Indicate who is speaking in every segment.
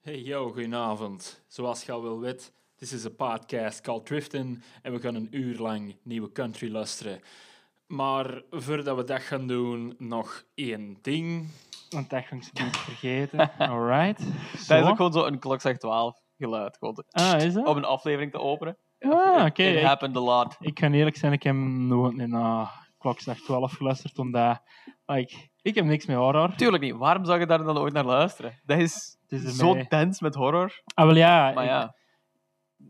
Speaker 1: Hey yo, goedenavond. Zoals je al wel weet, dit is een podcast called Driften en we gaan een uur lang nieuwe country luisteren. Maar voordat we dat gaan doen, nog één ding.
Speaker 2: Want dat ging ze niet vergeten. Alright.
Speaker 3: Dat is
Speaker 2: Zo.
Speaker 3: ook gewoon zo'n klok zegt 12 geluid. Gewoon zo,
Speaker 2: Ah, is dat?
Speaker 3: Om een aflevering te openen.
Speaker 2: ah, oké.
Speaker 3: It
Speaker 2: Ik,
Speaker 3: happened a lot.
Speaker 2: ik ga eerlijk zijn, ik heb nooit in uh, klokslag 12 geluisterd, omdat like, ik heb niks met horror.
Speaker 3: Tuurlijk niet. Waarom zou je daar dan ooit naar luisteren? Dat is,
Speaker 2: Het is
Speaker 3: zo
Speaker 2: ermee.
Speaker 3: dense met horror.
Speaker 2: Ah, wel ja.
Speaker 3: Maar
Speaker 2: ik-
Speaker 3: ja,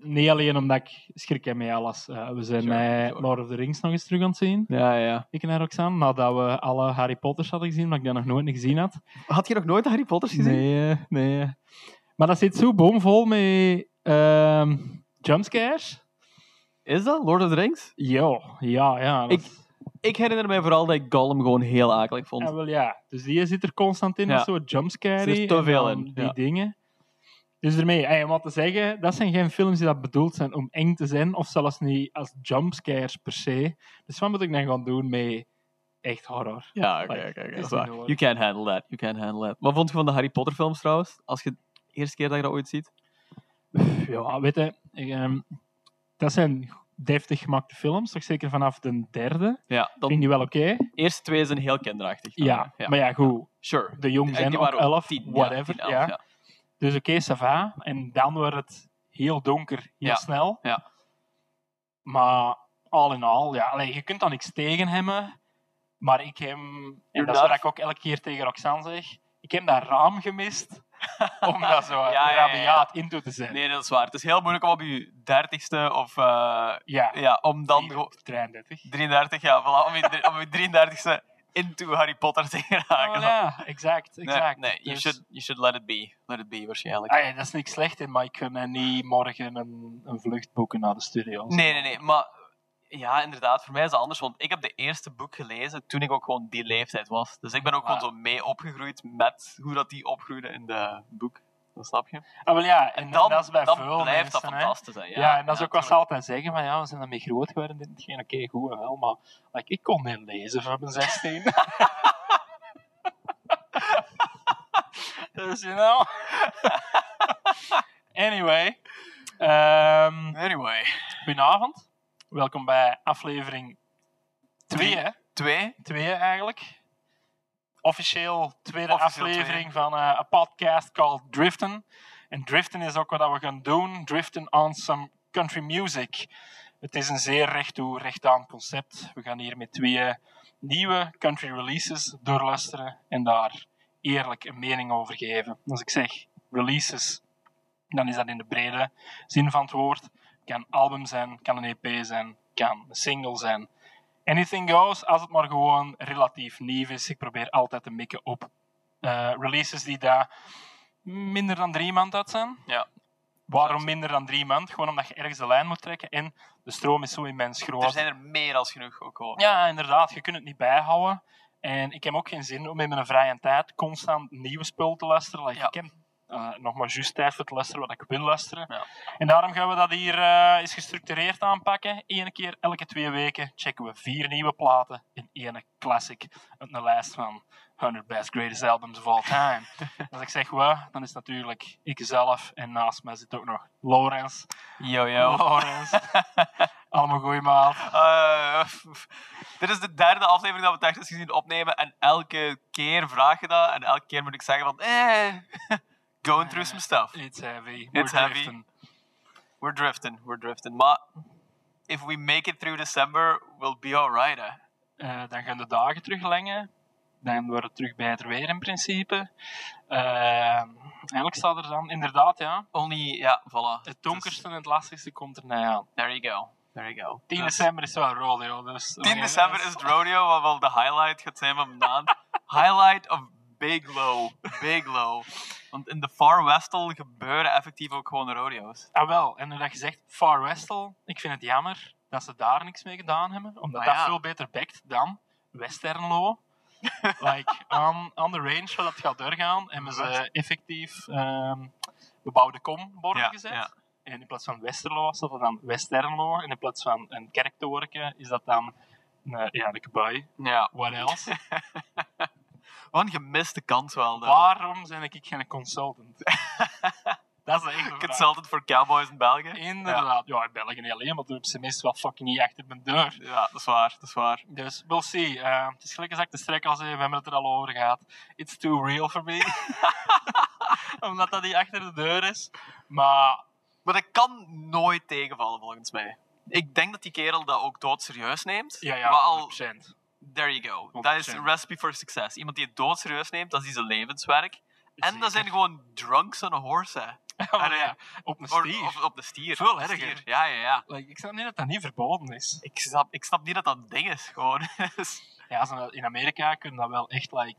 Speaker 2: niet alleen omdat ik schrik heb met alles. Eh, we zijn
Speaker 3: Sure,
Speaker 2: met
Speaker 3: sure.
Speaker 2: Lord of the Rings nog eens terug aan het zien.
Speaker 3: ja, ja.
Speaker 2: Ik en Roxanne, nadat we alle Harry Potters hadden gezien, maar ik dat nog nooit niet gezien had.
Speaker 3: Had je nog nooit Harry Potter gezien?
Speaker 2: Nee, eh, nee. eh. Maar dat zit zo bomvol met ehm jumpscares.
Speaker 3: Is dat Lord of the Rings?
Speaker 2: Jo, ja, ja. dat
Speaker 3: Ik Ik herinner mij vooral dat ik Gollum gewoon heel akelig vond.
Speaker 2: Ja, wel ja. Dus die zit er constant in,
Speaker 3: Ja.
Speaker 2: dat soort jumpscare.
Speaker 3: Er is te
Speaker 2: en
Speaker 3: veel
Speaker 2: dan
Speaker 3: in,
Speaker 2: Die
Speaker 3: ja.
Speaker 2: dingen. Dus ermee, ey, om wat te zeggen, dat zijn geen films die dat bedoeld zijn om eng te zijn, of zelfs niet als jumpscares per se. Dus wat moet ik dan gaan doen met echt horror?
Speaker 3: Ja, oké,
Speaker 2: Like,
Speaker 3: oké. oké,
Speaker 2: is
Speaker 3: dat is
Speaker 2: niet
Speaker 3: waar.
Speaker 2: nodig.
Speaker 3: You can't handle that. You can't handle that. Wat vond je van de Harry Potter films trouwens? Als je de eerste keer dat je dat ooit ziet?
Speaker 2: Ja, weet je, ik, ehm, dat zijn deftig gemaakte films, toch zeker vanaf de derde.
Speaker 3: Ja, dan
Speaker 2: Vind je die wel oké?
Speaker 3: de eerste twee zijn heel kinderachtig.
Speaker 2: Ja,
Speaker 3: Ah, ja.
Speaker 2: maar ja, goed.
Speaker 3: Sure.
Speaker 2: De jong
Speaker 3: Die
Speaker 2: zijn op
Speaker 3: waren ook
Speaker 2: elf,
Speaker 3: tien, ja,
Speaker 2: whatever.
Speaker 3: tien, elf,
Speaker 2: ja. Dus oké, ça va. En dan wordt het heel donker, heel
Speaker 3: Ja,
Speaker 2: snel.
Speaker 3: ja.
Speaker 2: Maar al in al, ja, allee, je kunt dan niks tegen hebben. Maar ik heb, en dat is
Speaker 3: not-
Speaker 2: wat ik ook elke keer tegen Roxanne zeg, ik heb dat raam gemist om dat zo
Speaker 3: Ja, ja, ja, ja.
Speaker 2: rabiaat in toe te zetten.
Speaker 3: Nee, dat is waar. Het is heel moeilijk om op je dertigste of eh,
Speaker 2: Ja,
Speaker 3: ja, om dan gewoon
Speaker 2: 33.
Speaker 3: 33, ja, voilà, om je, dr- om je 33ste into Harry Potter te geraken.
Speaker 2: Oh, ja, exact,
Speaker 3: Nee,
Speaker 2: exact.
Speaker 3: Nee, you,
Speaker 2: Dus-
Speaker 3: should, you should let it be. Let it be, waarschijnlijk.
Speaker 2: Ah, ja, dat is niks slecht in, maar ik kan eh, niet morgen een, een vlucht boeken naar de studio.
Speaker 3: Nee, nee, nee, maar ja, inderdaad, voor mij is het anders, want ik heb de eerste boek gelezen toen ik ook gewoon die leeftijd was. Dus ik ben ook gewoon
Speaker 2: Ah.
Speaker 3: zo mee opgegroeid met hoe dat die opgroeide in de boek. Dat snap je? En,
Speaker 2: Ah, wel ja, en,
Speaker 3: dan,
Speaker 2: dat is bij
Speaker 3: dan
Speaker 2: veel
Speaker 3: blijft dat
Speaker 2: mensen, hè.
Speaker 3: fantastisch. Hè?
Speaker 2: Ja, en dat is ook wat ze altijd zeggen, van ja, we zijn daarmee groot geworden, dit en hetgeen, oké, goed en wel, maar like, ik kon niet lezen voor mijn 16. dus, you know. anyway, ehm,
Speaker 3: Anyway,
Speaker 2: goedenavond. Welkom bij aflevering 2, hè?
Speaker 3: twee.
Speaker 2: 2 eigenlijk. Officieel tweede
Speaker 3: Officieel
Speaker 2: aflevering van eh, een podcast called Driften. En Driften is ook wat we gaan doen. Driften on some country music. Het is een zeer recht toe, recht aan concept. We gaan hier met twee nieuwe country releases doorluisteren en daar eerlijk een mening over geven. Als ik zeg releases, dan is dat in de brede zin van het woord. Kan album zijn, kan een EP zijn, kan een single zijn. Anything goes, als het maar gewoon relatief nieuw is. Ik probeer altijd te mikken op eh, releases die daar minder dan drie maand uit zijn.
Speaker 3: Ja.
Speaker 2: Waarom minder dan drie maand? Gewoon omdat je ergens de lijn moet trekken en de stroom is zo immens groot.
Speaker 3: Er zijn er meer als genoeg ook hoor.
Speaker 2: Ja, inderdaad. Je kunt het niet bijhouden. En ik heb ook geen zin om in mijn vrije tijd constant nieuwe spul te luisteren. Like,
Speaker 3: Ja.
Speaker 2: Ik heb eh, nog maar juist tijd voor te luisteren wat ik wil luisteren.
Speaker 3: Ja.
Speaker 2: En daarom gaan we dat hier eh, eens gestructureerd aanpakken. Eén keer elke twee weken checken we vier nieuwe platen in één classic. Uit een lijst van 100 best greatest albums of all time. Als ik zeg we, dan is het natuurlijk ikzelf. En naast mij zit ook nog Lawrence.
Speaker 3: Yo, yo.
Speaker 2: Lawrence. Allemaal goeie maat.
Speaker 3: Eh, dit is de derde aflevering dat we technisch gezien opnemen. En elke keer vraag je dat. En elke keer moet ik zeggen van... Eh, going through some stuff.
Speaker 2: It's heavy.
Speaker 3: It's
Speaker 2: We're
Speaker 3: heavy.
Speaker 2: drifting.
Speaker 3: We're drifting, we're drifting. Maar if we make it through December, we'll be alright, hè.
Speaker 2: Eh, dan gaan de dagen teruglengen. Dan wordt het terug bij het weer in principe. Eh, eigenlijk staat er dan, inderdaad, ja,
Speaker 3: Only, ja, voilà.
Speaker 2: het donkerste en het lastigste komt er nou aan.
Speaker 3: Dus, there you go. There you go.
Speaker 2: 10
Speaker 3: Dus
Speaker 2: december is wel rodeo. Dus
Speaker 3: 10 december is het rodeo, wat wel de highlight gaat zijn van de maand. highlight of Big Low. Big Low. Want in de Far Westel gebeuren effectief ook gewoon rodeo's.
Speaker 2: Ah wel, en nu dat je zegt Far Westel, ik vind het jammer dat ze daar niks mee gedaan hebben. Omdat
Speaker 3: Maar
Speaker 2: dat
Speaker 3: ja.
Speaker 2: veel beter bekt dan Westernlo. like, on, on the range waar dat gaat doorgaan, hebben ze effectief ehm bebouwde komborden
Speaker 3: Ja,
Speaker 2: gezet.
Speaker 3: ja.
Speaker 2: En in plaats van Westerlo staat dat dan Westernlo. En in plaats van een kerk te werken, is dat dan een, eh, ja, de kabaai.
Speaker 3: Ja.
Speaker 2: What else?
Speaker 3: Wat een gemiste kans wel. dan.
Speaker 2: Waarom ben ik geen consultant? Dat is de echte vraag.
Speaker 3: Consultant voor cowboys in België.
Speaker 2: Inderdaad. Ja, in België niet alleen, maar op zijn minst wel fucking niet achter mijn deur.
Speaker 3: Ja, dat is waar, dat is waar.
Speaker 2: Dus we'll see. Eh, het is gelijk als ik de strek al zei, we hebben het er al over gehad. It's too real for me. Omdat dat niet achter de deur is. Maar
Speaker 3: Maar dat kan nooit tegenvallen, volgens mij. Ik denk dat die kerel dat ook doodserieus neemt.
Speaker 2: ja,
Speaker 3: maar
Speaker 2: ja,
Speaker 3: al,
Speaker 2: 100%.
Speaker 3: there you go. Dat is
Speaker 2: 100%.
Speaker 3: recipe for success. Iemand die het doodserieus neemt, dat is zijn levenswerk. En
Speaker 2: Zeker.
Speaker 3: dat zijn gewoon drunks on a horse, hè.
Speaker 2: Maar
Speaker 3: Allee,
Speaker 2: ja, op een
Speaker 3: Or-
Speaker 2: stier.
Speaker 3: Of op de stier.
Speaker 2: Veel
Speaker 3: op de
Speaker 2: erger.
Speaker 3: stier. Ja, ja, ja.
Speaker 2: Like, ik snap niet dat dat niet verboden is.
Speaker 3: Ik snap, ik snap niet dat dat een ding is, gewoon.
Speaker 2: Ja, zo- in Amerika kun je daar wel echt like,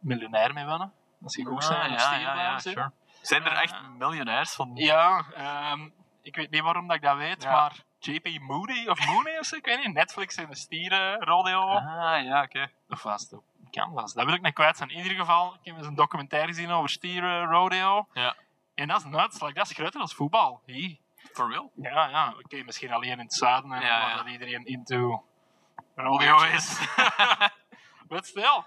Speaker 2: miljonair mee winnen. Als je goed zijn,
Speaker 3: Ah, ja,
Speaker 2: ja,
Speaker 3: ja, ja, sure. Zijn er echt miljonairs van?
Speaker 2: Ja, ehm, ik weet niet waarom dat ik dat weet,
Speaker 3: Ja.
Speaker 2: maar JP Moody of Mooney of zo, ik weet niet, Netflix en de stieren, rodeo.
Speaker 3: Ah, ja, oké.
Speaker 2: Of was het op Canvas? Dat wil ik niet kwijt zijn. In ieder geval, ik heb eens een documentaire gezien over stieren, rodeo.
Speaker 3: Ja.
Speaker 2: En dat is nuts, like, dat is groter dan voetbal. Hie.
Speaker 3: For real?
Speaker 2: Ja, ja, oké, misschien alleen in het zuiden, en
Speaker 3: Ja,
Speaker 2: waar
Speaker 3: ja.
Speaker 2: dat iedereen into
Speaker 3: Oh,
Speaker 2: rodeo is. Maar stil.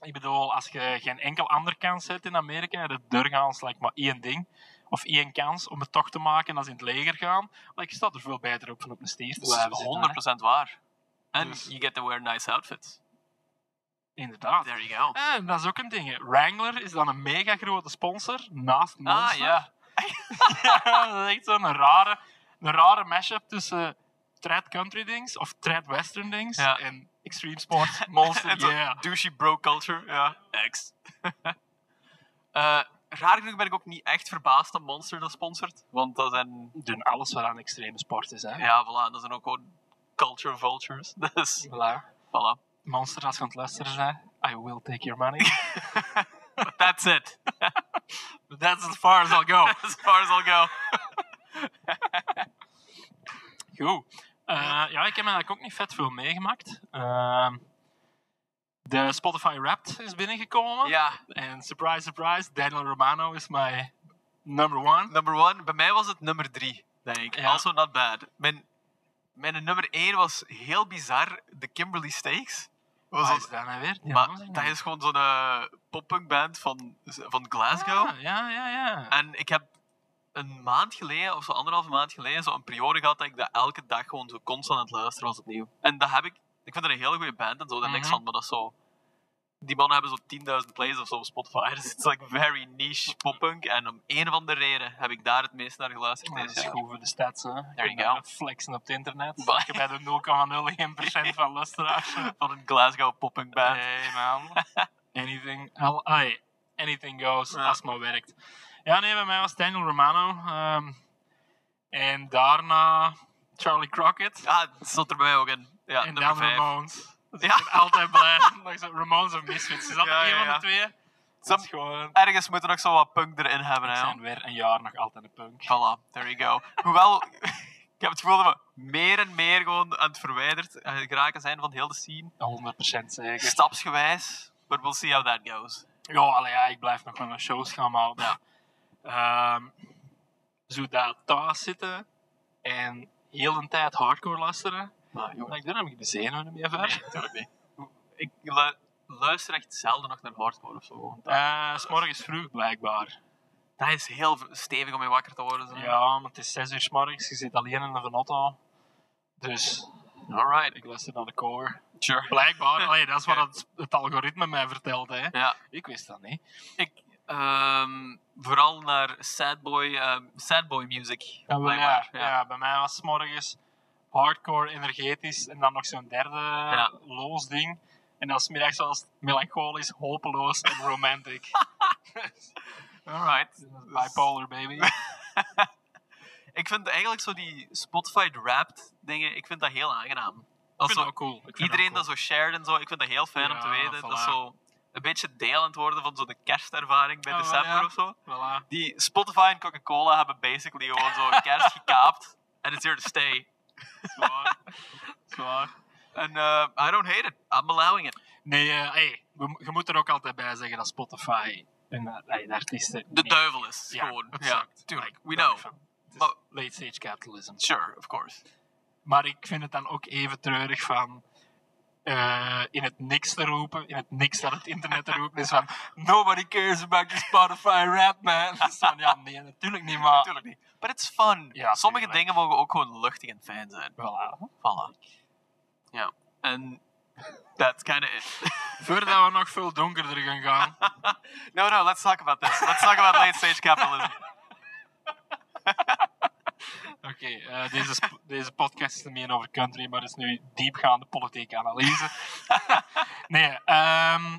Speaker 2: Ik bedoel, als je geen enkel andere kans hebt in Amerika, de deurgaans lijkt maar één ding. Of één kans om het toch te maken als in het leger gaan. Maar je staat er veel beter op van op een stier te blijven zitten, hè.
Speaker 3: Dat is 100% waar. En
Speaker 2: Dus-
Speaker 3: you get to wear nice outfits.
Speaker 2: Inderdaad.
Speaker 3: There you go.
Speaker 2: En dat is ook een ding. hè. Wrangler is dan een mega grote sponsor naast Monster.
Speaker 3: Ah, ja.
Speaker 2: Ja, dat is echt zo'n rare, een rare mashup tussen trad country dings of trad western dings
Speaker 3: Ja.
Speaker 2: en extreme sports Monster.
Speaker 3: En zo
Speaker 2: yeah.
Speaker 3: Douchey bro culture. Ja. Ex. Eh, raar genoeg ben ik ook niet echt verbaasd dat Monster dat sponsort. Want dat zijn...
Speaker 2: Doen alles wat aan extreme sport is, hè.
Speaker 3: Ja, voilà. Dat zijn ook gewoon culture vultures. Dus,
Speaker 2: Voilà.
Speaker 3: voilà.
Speaker 2: Monster, als je aan het luisteren bent, I will take your money.
Speaker 3: That's it.
Speaker 2: That's as far as I'll go.
Speaker 3: As far as I'll go.
Speaker 2: Goed. Eh, ja, ik heb eigenlijk ook niet vet veel meegemaakt. Ehm, de Spotify Wrapped is binnengekomen.
Speaker 3: Ja,
Speaker 2: En surprise, surprise, Daniel Romano is my number one.
Speaker 3: number one. Bij mij was het nummer drie, denk ik.
Speaker 2: Ja.
Speaker 3: Also not bad. Mijn, mijn nummer één was heel bizar. De Kimberly Stakes. Was
Speaker 2: Wat
Speaker 3: dat-
Speaker 2: is dat nou weer? Die naam
Speaker 3: maar
Speaker 2: zeg
Speaker 3: dat
Speaker 2: maar.
Speaker 3: is gewoon zo'n eh, pop-punkband van, van Glasgow.
Speaker 2: Ah, ja, ja, ja.
Speaker 3: En ik heb een maand geleden, of zo anderhalve maand geleden, zo'n periode gehad dat ik dat elke dag gewoon zo constant aan het luisteren was opnieuw. En dat heb ik... Ik vind dat een hele goede band en zo, daar niks
Speaker 2: Mhm.
Speaker 3: van, maar dat is zo... Die mannen hebben zo 10.000 plays of zo op Spotify. Dus het is like very niche poppunk. En om een of andere reden heb ik daar het meest naar geluisterd
Speaker 2: Ja, dat
Speaker 3: deze
Speaker 2: is
Speaker 3: jaar.
Speaker 2: goed voor de stats, hè.
Speaker 3: There you
Speaker 2: Kunnen
Speaker 3: go.
Speaker 2: we Flexen op het internet.
Speaker 3: Bah.
Speaker 2: Ik heb bij de 0,01% van luisteraars. eh.
Speaker 3: Van een Glasgow poppunk band.
Speaker 2: Hey, man. Anything, al- ai, anything goes,
Speaker 3: Ja.
Speaker 2: als het maar werkt. Ja, nee, bij mij was Daniel Romano. ehm, en daarna Charlie Crockett.
Speaker 3: Ja, dat Ah, zat er bij mij ook in. Ja,
Speaker 2: en
Speaker 3: nummer
Speaker 2: dan
Speaker 3: 5.
Speaker 2: Ramones. Dus
Speaker 3: Ja.
Speaker 2: ik ben altijd blij. Like zo, Ramones of Misfits. Is dat
Speaker 3: Ja,
Speaker 2: er
Speaker 3: ja,
Speaker 2: een van
Speaker 3: ja.
Speaker 2: de twee?
Speaker 3: Sam-
Speaker 2: Dat is gewoon...
Speaker 3: Ergens moet er nog zo wat punk erin hebben.
Speaker 2: We
Speaker 3: Hè, joh.
Speaker 2: zijn weer een jaar nog altijd een punk.
Speaker 3: Voilà, there you go. Hoewel, ik heb het gevoel dat we meer en meer gewoon aan het verwijderd eh, geraken zijn van heel de scene.
Speaker 2: 100% zeker.
Speaker 3: Stapsgewijs, but we'll see how that goes.
Speaker 2: Ja, allee, ja, ik blijf nog wel naar shows gaan, maar ja. Ehm, zo daar thuis zitten en heel een tijd hardcore luisteren.
Speaker 3: Maar
Speaker 2: Maar ik doe heb ik de zenuwen ermee ver.
Speaker 3: natuurlijk niet. Ik lu- luister echt zelden nog naar hardcore of zo. want Dat,
Speaker 2: Eh, S S'morgens vroeg blijkbaar.
Speaker 3: dat is heel v- stevig om mee wakker te worden. zo.
Speaker 2: Ja, maar het is 6 uur 's morgens, je zit alleen in een auto. Dus
Speaker 3: Alright,
Speaker 2: ik luister naar de core.
Speaker 3: sure.
Speaker 2: Blijkbaar, allee, dat is wat het, het algoritme mij vertelde. Hè.
Speaker 3: Ja,
Speaker 2: Ik wist dat niet.
Speaker 3: ehm, vooral naar sad boy, ehm, sad boy music.
Speaker 2: Ja, wel, ja,
Speaker 3: blijkbaar,
Speaker 2: ja. bij mij was het morgens hardcore, energetisch en dan nog zo'n derde los ding. En dan 's middags was het melancholisch, hopeloos en romantic.
Speaker 3: Alright.
Speaker 2: Bipolar baby.
Speaker 3: Ik vind eigenlijk zo die Spotify Wrapped dingen, ik vind dat heel aangenaam.
Speaker 2: Dat
Speaker 3: Als
Speaker 2: is
Speaker 3: zo
Speaker 2: wel cool. Ik vind
Speaker 3: iedereen
Speaker 2: wel
Speaker 3: dat zo shared en zo, ik vind dat heel fijn om te
Speaker 2: Ja,
Speaker 3: weten. Dat is
Speaker 2: voilà.
Speaker 3: zo een beetje deel aan het worden van zo de kerstervaring bij
Speaker 2: Ah, wel,
Speaker 3: december
Speaker 2: ja.
Speaker 3: of zo.
Speaker 2: cool. Voilà.
Speaker 3: Die Spotify en Coca-Cola hebben basically gewoon zo kerst gekaapt. And it's here to stay.
Speaker 2: Zwaar. Zwaar.
Speaker 3: En eh, I don't hate it. I'm allowing it.
Speaker 2: Nee, eh, hey, we mo- je moet er ook altijd bij zeggen dat Spotify en eh, hey, de artiesten...
Speaker 3: De
Speaker 2: niet-
Speaker 3: duivel is
Speaker 2: Ja,
Speaker 3: gewoon.
Speaker 2: het
Speaker 3: Ja,
Speaker 2: zakt.
Speaker 3: tuurlijk.
Speaker 2: Like,
Speaker 3: We
Speaker 2: daar
Speaker 3: know.
Speaker 2: van. Het is
Speaker 3: Maar-
Speaker 2: Late stage capitalism.
Speaker 3: Sure, of course.
Speaker 2: Maar ik vind het dan ook even treurig van eh, in het niks te roepen, in het niks naar het internet te roepen, is van nobody cares about your Spotify rap, man. Dat is van, ja, nee, natuurlijk niet, maar...
Speaker 3: Natuurlijk niet. But it's fun.
Speaker 2: Ja,
Speaker 3: Sommige
Speaker 2: tuurlijk.
Speaker 3: dingen mogen ook gewoon luchtig en fijn zijn.
Speaker 2: Voilà.
Speaker 3: Voilà. Ja. En that's kind of it.
Speaker 2: Voordat we nog veel donkerder gaan gaan.
Speaker 3: No, no, let's talk about this. Let's talk about late stage capitalism.
Speaker 2: Oké, eh, deze, sp- deze podcast is niet meer over country, maar is nu diepgaande politieke analyse. nee, ehm,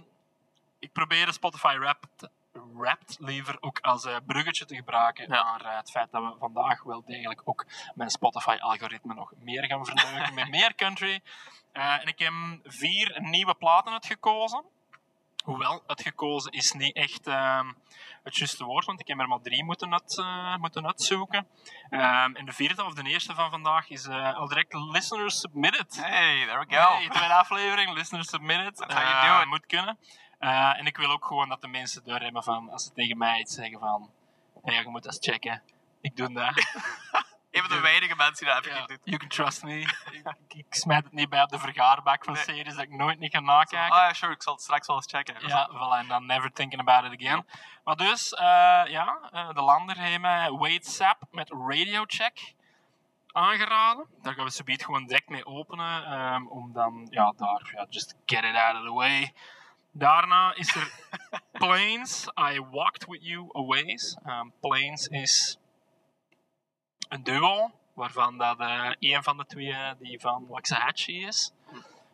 Speaker 2: ik probeer de Spotify Wrapped, wrapped liever ook als eh, bruggetje te gebruiken
Speaker 3: Ja.
Speaker 2: naar eh, het feit dat we vandaag wel degelijk ook mijn Spotify-algoritme nog meer gaan verneuken met meer country. Eh, en ik heb vier nieuwe platen uitgekozen. Hoewel, uitgekozen is niet echt ehm, het juiste woord, want ik heb er maar drie moeten, uit, eh, moeten uitzoeken. Ehm, en de vierde of de eerste van vandaag is eh, al direct Listeners Submitted.
Speaker 3: Hey, there we go.
Speaker 2: Hey, tweede aflevering, Listeners Submitted.
Speaker 3: That's how you
Speaker 2: Eh,
Speaker 3: do it.
Speaker 2: Moet kunnen. Eh, en ik wil ook gewoon dat de mensen door hebben van, als ze tegen mij iets zeggen van, hey, je moet dat checken. Ik doe dat.
Speaker 3: Een van de weinige mensen die dat
Speaker 2: Ja,
Speaker 3: effectief doet.
Speaker 2: you can trust me. ik, ik smijt het niet bij op de vergaarbak van
Speaker 3: Nee.
Speaker 2: series dat ik nooit niet ga
Speaker 3: Zo,
Speaker 2: nakijken.
Speaker 3: Ah, ja, sure, ik zal het straks wel eens checken.
Speaker 2: Ja, voilà, en dan never thinking about it again. Maar dus, eh, ja, eh, de lander heeft mij Wade Sap met Radio Check aangeraden. Daar gaan we subiet gewoon direct mee openen, ehm, om dan, ja, daar, ja, just get it out of the way. Daarna is er Planes, I Walked With You A Ways. Ehm, Planes is een duo, waarvan dat eh een van de twee eh, die van Waxahachie is.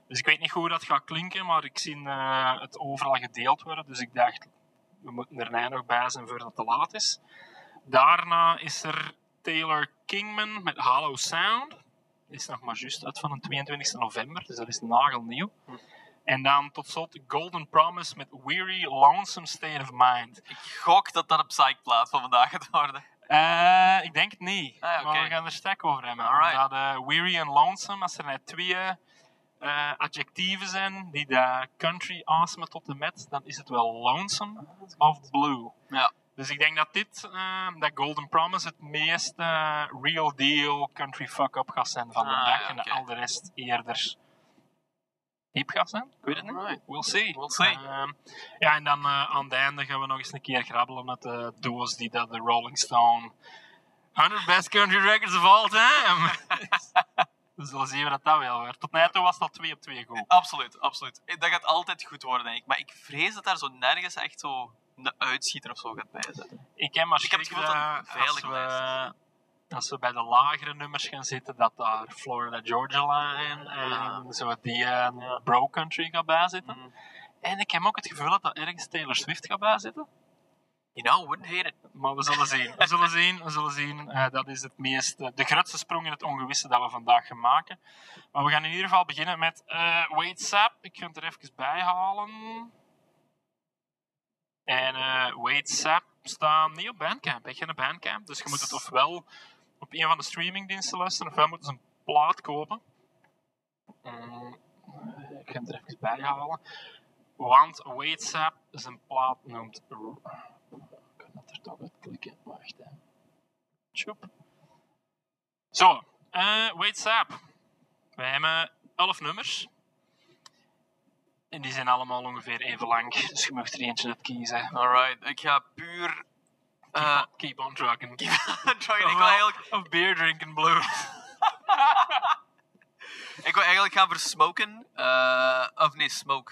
Speaker 2: Dus ik weet niet hoe dat gaat klinken, maar ik zie eh, het overal gedeeld worden. Dus ik dacht, we moeten er net nog bij zijn voordat het te laat is. Daarna is er Taylor Kingman met Hollow Sound. Die is nog maar juist uit van de 22 november, dus dat is nagelnieuw. En dan tot slot Golden Promise met Weary Lonesome State of Mind.
Speaker 3: Ik gok dat dat een psychplaat van vandaag gaat worden.
Speaker 2: Eh, ik denk het niet.
Speaker 3: Ah, oké.
Speaker 2: Maar we gaan er sterk over hebben.
Speaker 3: Alright.
Speaker 2: Omdat, eh, weary en lonesome, als er net twee eh, adjectieven zijn die de country asemen tot de met, dan is het wel lonesome of blue.
Speaker 3: Ja.
Speaker 2: Dus ik denk dat dit, eh, dat Golden Promise, het meest eh, real deal country fuck-up gaat zijn van de
Speaker 3: Ah,
Speaker 2: dag.
Speaker 3: ja,
Speaker 2: En dat
Speaker 3: oké.
Speaker 2: al de rest eerder diep gaat zijn. Ik weet het niet.
Speaker 3: Alright.
Speaker 2: We'll see.
Speaker 3: We'll see.
Speaker 2: Ehm, ja, en dan eh, aan het einde gaan we nog eens een keer grabbelen met de doos die dat de Rolling Stone 100 Best Country Records of All Time. dus dan zien we dat dat wel weer. Tot nu toe was dat 2 op 2 goed.
Speaker 3: Absoluut, absoluut. Eh, Dat gaat altijd goed worden, denk ik. Maar ik vrees dat daar zo nergens echt zo een uitschieter of zo gaat bij zitten.
Speaker 2: Ik heb maar
Speaker 3: Ik heb het
Speaker 2: schrik
Speaker 3: gevoel dat
Speaker 2: dat
Speaker 3: het veilig
Speaker 2: als we,
Speaker 3: blijft.
Speaker 2: als we bij de lagere nummers gaan zitten, dat daar Florida Georgia Line en zo die eh, Bro Country gaat bijzitten.
Speaker 3: Mm.
Speaker 2: En ik heb ook het gevoel dat dat ergens Taylor Swift gaat bijzitten.
Speaker 3: You know, wouldn't hate it.
Speaker 2: Maar we zullen zien. We zullen zien. We zullen zien. Eh, dat is het meest, eh, de grootste sprong in het ongewisse dat we vandaag gaan maken. Maar we gaan in ieder geval beginnen met eh Wade Sap. Ik ga het er even bij halen. En eh Wade Sap staat niet op Bandcamp. Ik heb een Bandcamp. Dus je moet het ofwel op een van de streamingdiensten luisteren, ofwel moeten ze een plaat kopen. Mm, ik ga het er even bij halen. Want Wade Sap zijn plaat noemt kan dat er toch uit klikken. Wacht, hè. Tjoep. Zo, eh wait up. We hebben 11 nummers. En die zijn allemaal ongeveer even lang, dus je mag er eentje uit kiezen.
Speaker 3: Alright, ik ga puur. eh,
Speaker 2: Keep on trucking. Keep
Speaker 3: sorry, ik, wil eigenlijk,
Speaker 2: Of beer drinking blues.
Speaker 3: ik wil eigenlijk gaan voor smoken. eh, of nee, smoke.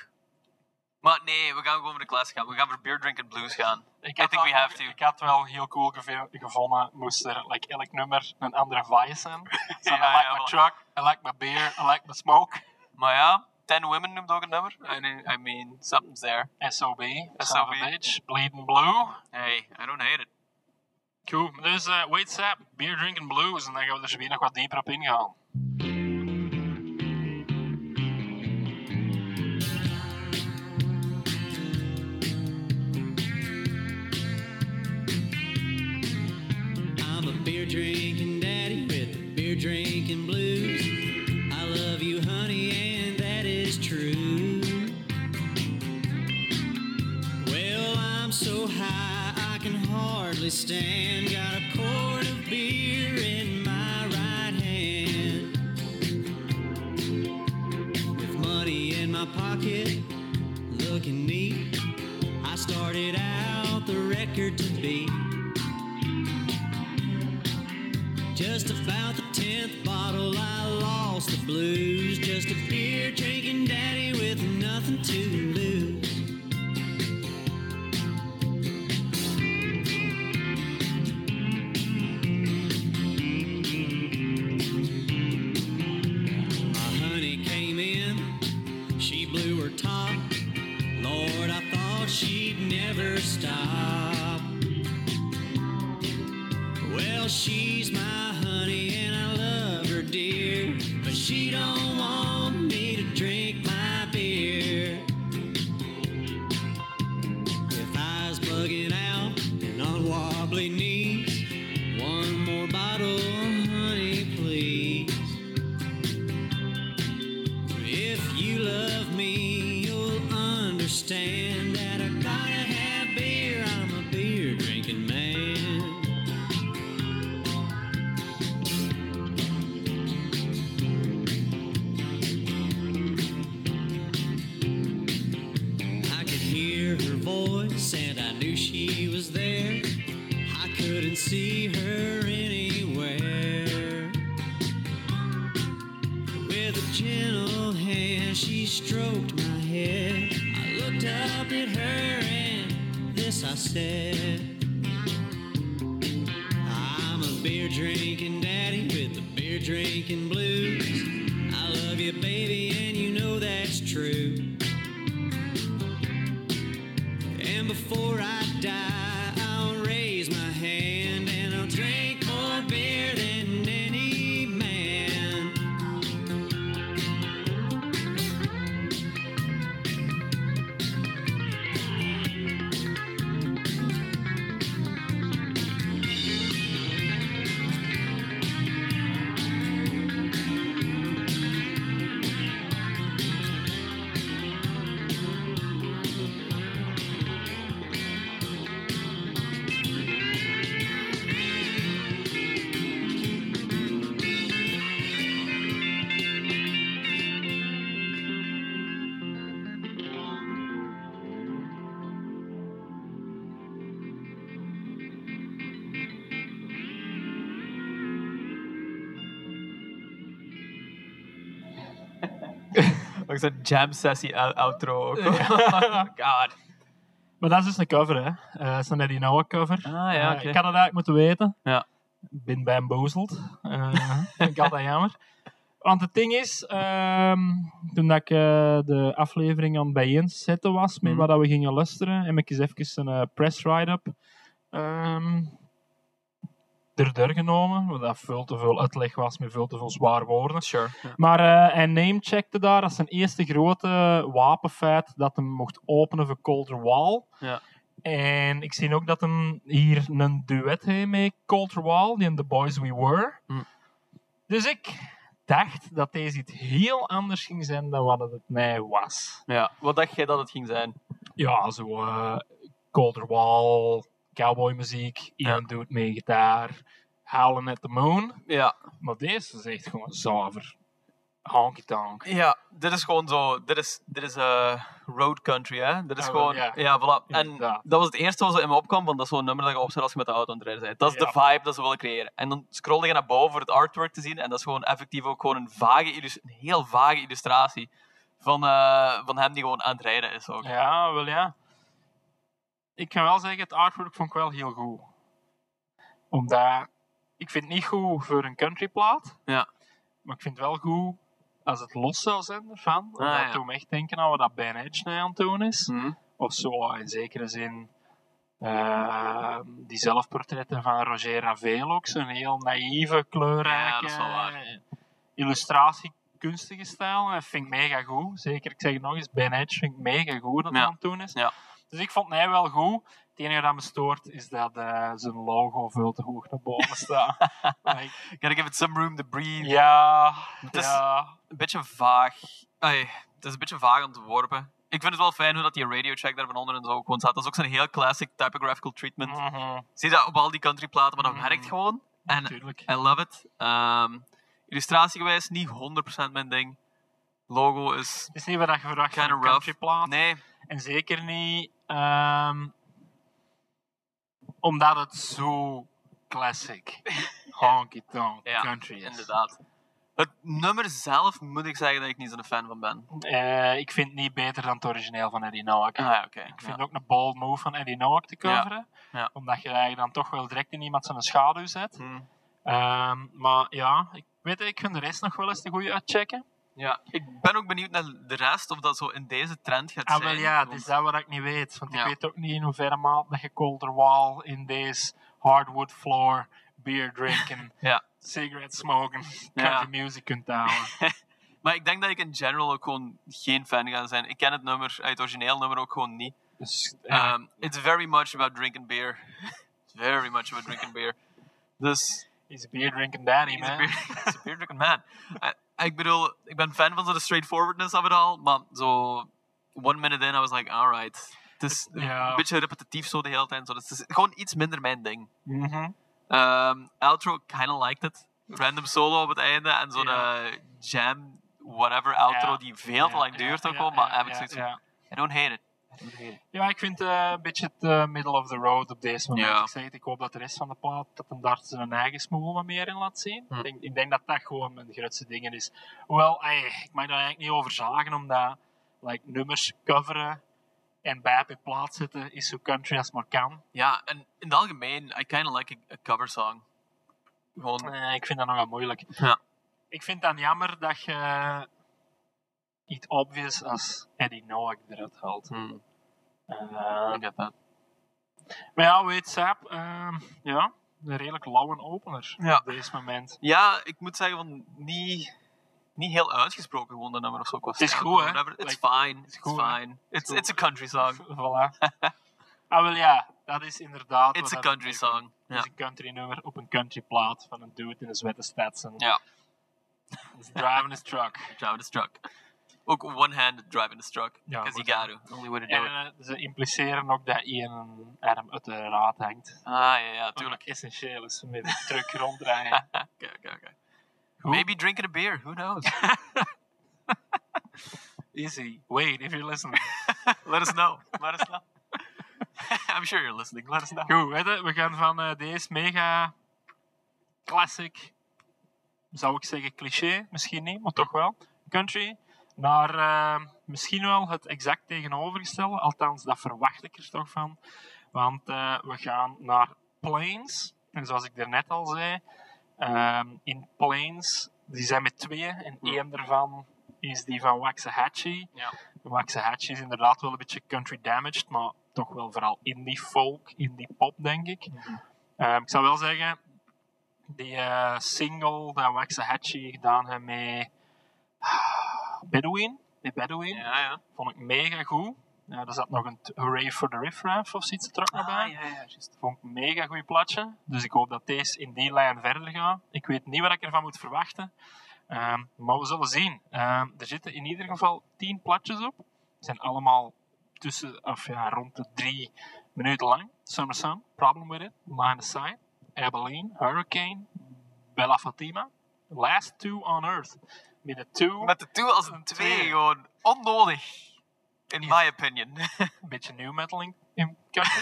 Speaker 3: Maar nee, we gaan gewoon voor de klas gaan. We gaan voor beer drink and blues gaan.
Speaker 2: Ik
Speaker 3: think we
Speaker 2: wel-
Speaker 3: have to.
Speaker 2: Ik had wel heel cool geve- gevonden, moest er like, elk nummer een andere vibe zijn. So,
Speaker 3: Ja,
Speaker 2: I like
Speaker 3: ja,
Speaker 2: my
Speaker 3: voilà.
Speaker 2: truck, I like my beer, I like my smoke.
Speaker 3: Maar ja, Ten Women noemt ook een nummer. I, I mean, something's there.
Speaker 2: SOB, son of
Speaker 3: SOB.
Speaker 2: a bitch, bleeding blue.
Speaker 3: Hey, I don't hate it.
Speaker 2: Cool. Dus eh Wait Sap, Beer Drinking Blues. En dan gaan we er zo weer nog wat dieper op ingaan.
Speaker 4: I'm a beer drinking daddy with the beer drinking blues. I love you, honey, and that is true. Well, I'm so high I can hardly stand. Got a quart of beer in my right hand. With money
Speaker 5: my pocket, looking neat. I started out the record to beat. Just about the tenth bottle, I lost the blues. Just a beer drinking daddy with nothing to lose. My honey came in, she blew her top. Lord, I thought she'd never stop. Well, she's my honey and I love her dear, but she don't want me to drink my beer. With eyes bugging out and on wobbly knees, one more bottle, honey, please. If you love me, you'll understand that I gotta have beer. I'm a beer drinking man. I could hear her voice and I knew she was there. I couldn't see her anywhere. With a gentle hand, she stroked my head. I looked up at her and this I said. I'm a beer drinking daddy with the beer drinking blues. I love you, baby, and you know that's true. And before I die, I'll raise my hand and I'll drink more beer than any man.
Speaker 3: Ook zo'n jam sessie ou- outro. Ook. oh god.
Speaker 2: Maar dat is dus een cover, hè? Eh, dat is een Eddie Noah cover.
Speaker 3: Ah, ja,
Speaker 2: Eh,
Speaker 3: oké.
Speaker 2: ik had dat eigenlijk moeten weten.
Speaker 3: Ja.
Speaker 2: Ik ben bamboozled. Eh vind ik altijd jammer. Want het ding is, ehm, toen dat ik eh, de aflevering aan het bijeenzetten was, met
Speaker 3: Mhm.
Speaker 2: wat dat we gingen luisteren, heb ik eens even een eh, press write-up ehm erdoor genomen. Wat dat veel te veel uitleg was, met veel te veel zwaar woorden.
Speaker 3: Sure.
Speaker 2: Maar eh, hij namecheckte daar als zijn eerste grote wapenfeit dat hem mocht openen voor Colter Wall.
Speaker 3: Ja.
Speaker 2: En ik zie ook dat hem hier een duet heeft met Colter Wall, die in The Boys We Were.
Speaker 3: Hm.
Speaker 2: Dus ik dacht dat deze iets heel anders ging zijn dan wat het mij was.
Speaker 3: Ja. Wat dacht jij dat het ging zijn?
Speaker 2: Ja, zo eh Colter Wall, cowboymuziek, iemand doet mee gitaar, Howlin' at the Moon.
Speaker 3: Ja.
Speaker 2: Maar deze is echt gewoon zuiver. Honky tonk.
Speaker 3: Ja, dit is gewoon zo. Dit is, dit is eh, road country, hè? Dit is
Speaker 2: Ja, wel,
Speaker 3: gewoon.
Speaker 2: ja.
Speaker 3: Ja, voilà. En
Speaker 2: Inderdaad.
Speaker 3: dat was het eerste wat in me opkwam, want dat is zo'n nummer dat je opzet als je met de auto aan het rijden bent. Dat is
Speaker 2: Ja.
Speaker 3: de vibe dat ze willen creëren. En dan scroll je naar boven voor het artwork te zien, en dat is gewoon effectief ook gewoon een, vage illus- een heel vage illustratie van, eh, van hem die gewoon aan het rijden is ook.
Speaker 2: Ja, wel ja. Ik kan wel zeggen, het artwork vond ik wel heel goed. Omdat, ik vind het niet goed voor een countryplaat.
Speaker 3: Ja.
Speaker 2: Maar ik vind het wel goed als het los zou zijn ervan. Omdat
Speaker 3: Ah, ja.
Speaker 2: het doet me echt denken aan wat dat Ben Edge nou aan het doen is.
Speaker 3: Mhm.
Speaker 2: Of zo, in zekere zin. eh, die zelfportretten van Roger Ravel ook. Zo'n heel naïeve, kleurrijke...
Speaker 3: Ja, dat is wel waar.
Speaker 2: Illustratie, kunstige stijl. Dat vind ik mega goed. Zeker, ik zeg het nog eens, Ben Edge vind ik mega goed dat hij
Speaker 3: Ja.
Speaker 2: aan het doen is.
Speaker 3: Ja.
Speaker 2: Dus ik vond mij wel goed. Het enige dat me stoort is dat eh, zijn logo veel te hoog naar boven staat. Maar ik-
Speaker 3: Gotta give it some room to breathe.
Speaker 2: ja,
Speaker 3: is-
Speaker 2: ja.
Speaker 3: Een beetje vaag. Ai, het is een beetje vaag ontworpen. Ik vind het wel fijn hoe dat die radiocheck daar van onder en zo ook gewoon staat. Dat is dus ook zo'n heel classic typographical treatment.
Speaker 2: Mhm,
Speaker 3: Zie je dat op al die countryplaten, maar dat
Speaker 2: Mm.
Speaker 3: werkt gewoon. En
Speaker 2: Natuurlijk.
Speaker 3: I love it. Ehm illustratie gewijs niet 100% mijn ding. logo is
Speaker 2: Het is niet wat je verwacht van
Speaker 3: kind
Speaker 2: een
Speaker 3: of rough.
Speaker 2: countryplaat.
Speaker 3: Nee,
Speaker 2: En zeker niet ehm, omdat het zo classic honky tonk
Speaker 3: Ja,
Speaker 2: country is.
Speaker 3: inderdaad. Het nummer zelf moet ik zeggen dat ik niet zo'n fan van ben.
Speaker 2: Eh, ik vind het niet beter dan het origineel van Eddie Noack.
Speaker 3: Ah, ja, oké.
Speaker 2: Ik
Speaker 3: ja.
Speaker 2: vind ook een bold move van Eddie Noack te
Speaker 3: Ja,
Speaker 2: coveren.
Speaker 3: ja.
Speaker 2: Omdat je eigenlijk dan toch wel direct in iemand zijn schaduw zet.
Speaker 3: Hm.
Speaker 2: Ehm, maar ja, ik weet het, ik kan de rest nog wel eens de goede uitchecken.
Speaker 3: Ja, ik ben ook benieuwd naar de rest, of dat zo in deze trend gaat
Speaker 2: Ah,
Speaker 3: zijn.
Speaker 2: wel ja, het
Speaker 3: want-
Speaker 2: is dat wat ik niet weet. Want
Speaker 3: Ja.
Speaker 2: ik weet ook niet in hoeverre maat dat je Colder Wall in deze hardwood floor, beer drinken,
Speaker 3: Ja.
Speaker 2: cigarette smoken, country music kunt houden.
Speaker 3: Maar ik denk dat ik in general ook gewoon geen fan ga zijn. Ik ken het nummer, eh, het origineel nummer ook gewoon niet.
Speaker 2: Dus, eh,
Speaker 3: Um, it's very much about drinking beer. It's very much about drinking beer. Dus,
Speaker 2: is beer drinking Danny,
Speaker 3: he's
Speaker 2: man.
Speaker 3: a beer, he's a beer drinking man. Eh, ik bedoel, ik ben fan van zo de straightforwardness of it all, maar zo one minute in, I was like, alright. Het is
Speaker 2: Ja.
Speaker 3: een beetje repetitief zo de hele tijd. Zo. Dus het is gewoon iets minder mijn ding.
Speaker 2: Mhm.
Speaker 3: Um, outro, kind of liked it. Random solo op het einde en zo'n
Speaker 2: Ja.
Speaker 3: eh, jam, whatever outro
Speaker 2: Ja.
Speaker 3: die veel te
Speaker 2: Ja,
Speaker 3: lang
Speaker 2: ja,
Speaker 3: duurt ook
Speaker 2: ja,
Speaker 3: wel, maar
Speaker 2: ja,
Speaker 3: heb ik
Speaker 2: ja,
Speaker 3: zoiets van,
Speaker 2: ja.
Speaker 3: I don't hate it.
Speaker 2: Ja, ik vind het een beetje het eh, middle of the road op deze moment.
Speaker 3: Ja.
Speaker 2: Ik zeg het, ik hoop dat de rest van de plaat, dat hem daar zijn eigen smoel wat meer in laat zien.
Speaker 3: Hm.
Speaker 2: Ik, denk, ik denk dat dat gewoon mijn grootste dingen is. Hoewel, ey, ik mag daar eigenlijk niet over zagen, omdat like, nummers coveren en bij op je plaats zetten is zo country als maar kan.
Speaker 3: Ja, en in het algemeen, I kind of like a, a cover song. Gewoon,
Speaker 2: Eh, ik vind dat nogal moeilijk.
Speaker 3: Ja.
Speaker 2: Ik vind dan jammer dat je iets obvious als Eddie Noack eruit haalt.
Speaker 3: hmm,
Speaker 2: Eh,
Speaker 3: I get that.
Speaker 2: Maar ja, weet Sap, ehm, ja, een redelijk lauwe opener
Speaker 3: Ja.
Speaker 2: op dit moment.
Speaker 3: Ja, ik moet zeggen, van niet, niet heel uitgesproken gewoon dat nummer of zo.
Speaker 2: Het is goed, hè?
Speaker 3: It's
Speaker 2: Like,
Speaker 3: fine, it's,
Speaker 2: goed, hè?
Speaker 3: fine. It's,
Speaker 2: goed.
Speaker 3: it's a country song.
Speaker 2: Voilà. ah, wel ja, dat is inderdaad.
Speaker 3: It's a
Speaker 2: wat dat
Speaker 3: country
Speaker 2: betekent.
Speaker 3: song.
Speaker 2: Het is
Speaker 3: Ja.
Speaker 2: een country nummer op een country plaat van een dude in een zwette Stetson.
Speaker 3: Ja.
Speaker 2: He's driving his truck.
Speaker 3: Driving his truck. Ook one-handed driving his truck.
Speaker 2: Ja,
Speaker 3: Because
Speaker 2: moet
Speaker 3: you got to. Only way to do
Speaker 2: En
Speaker 3: it.
Speaker 2: eh, ze impliceren ook dat Ian een arm uit de raad hangt.
Speaker 3: Ah, ja, ja,
Speaker 2: Natuurlijk
Speaker 3: tuurlijk.
Speaker 2: essentieel is met de truck ronddraaien.
Speaker 3: Oké, oké, oké. Maybe drinking a beer, who knows?
Speaker 2: Easy. Wait, if you're listening.
Speaker 3: Let us know. Let us know. I'm sure you're listening. Let us know.
Speaker 2: Goed, weet je, we gaan van eh, deze mega classic, zou ik zeggen cliché, misschien niet, maar toch wel, country, naar eh, misschien wel het exact tegenovergestelde. Althans, dat verwacht ik er toch van. Want eh, we gaan naar Plains. En zoals ik daarnet al zei, ehm, in Plains, die zijn met tweeën. En
Speaker 3: Ja.
Speaker 2: één daarvan is die van Waxahachie.
Speaker 3: Ja.
Speaker 2: Waxahachie is inderdaad wel een beetje country damaged, maar toch wel vooral indie folk, indie pop, denk ik.
Speaker 3: Mhm.
Speaker 2: Ehm, ik zou wel zeggen, die eh, single dat Waxahachie gedaan heeft met ah, Bedouin, met Bedouin,
Speaker 3: Ja, ja.
Speaker 2: vond ik mega goed. Ja, er zat nog een t- Hooray for the Riff Raff of zoiets er ook nog bij.
Speaker 3: Ah, ja, ja, juist.
Speaker 2: Dus Vond ik een mega goed platje. Dus ik hoop dat deze in die lijn verder gaat. Ik weet niet wat ik ervan moet verwachten. Ehm, maar we zullen zien. Ehm, er zitten in ieder geval 10 platjes op. Ze zijn allemaal tussen, of ja, rond de drie minuten lang. Summer Sun, Problem With It, Line of Sight, Abilene, Hurricane, Bella Fatima. Last two on earth. Met de two,
Speaker 3: Met de toe als een
Speaker 2: Een
Speaker 3: twee,
Speaker 2: twee.
Speaker 3: gewoon onnodig. In my opinion.
Speaker 2: een beetje new metal in, in country.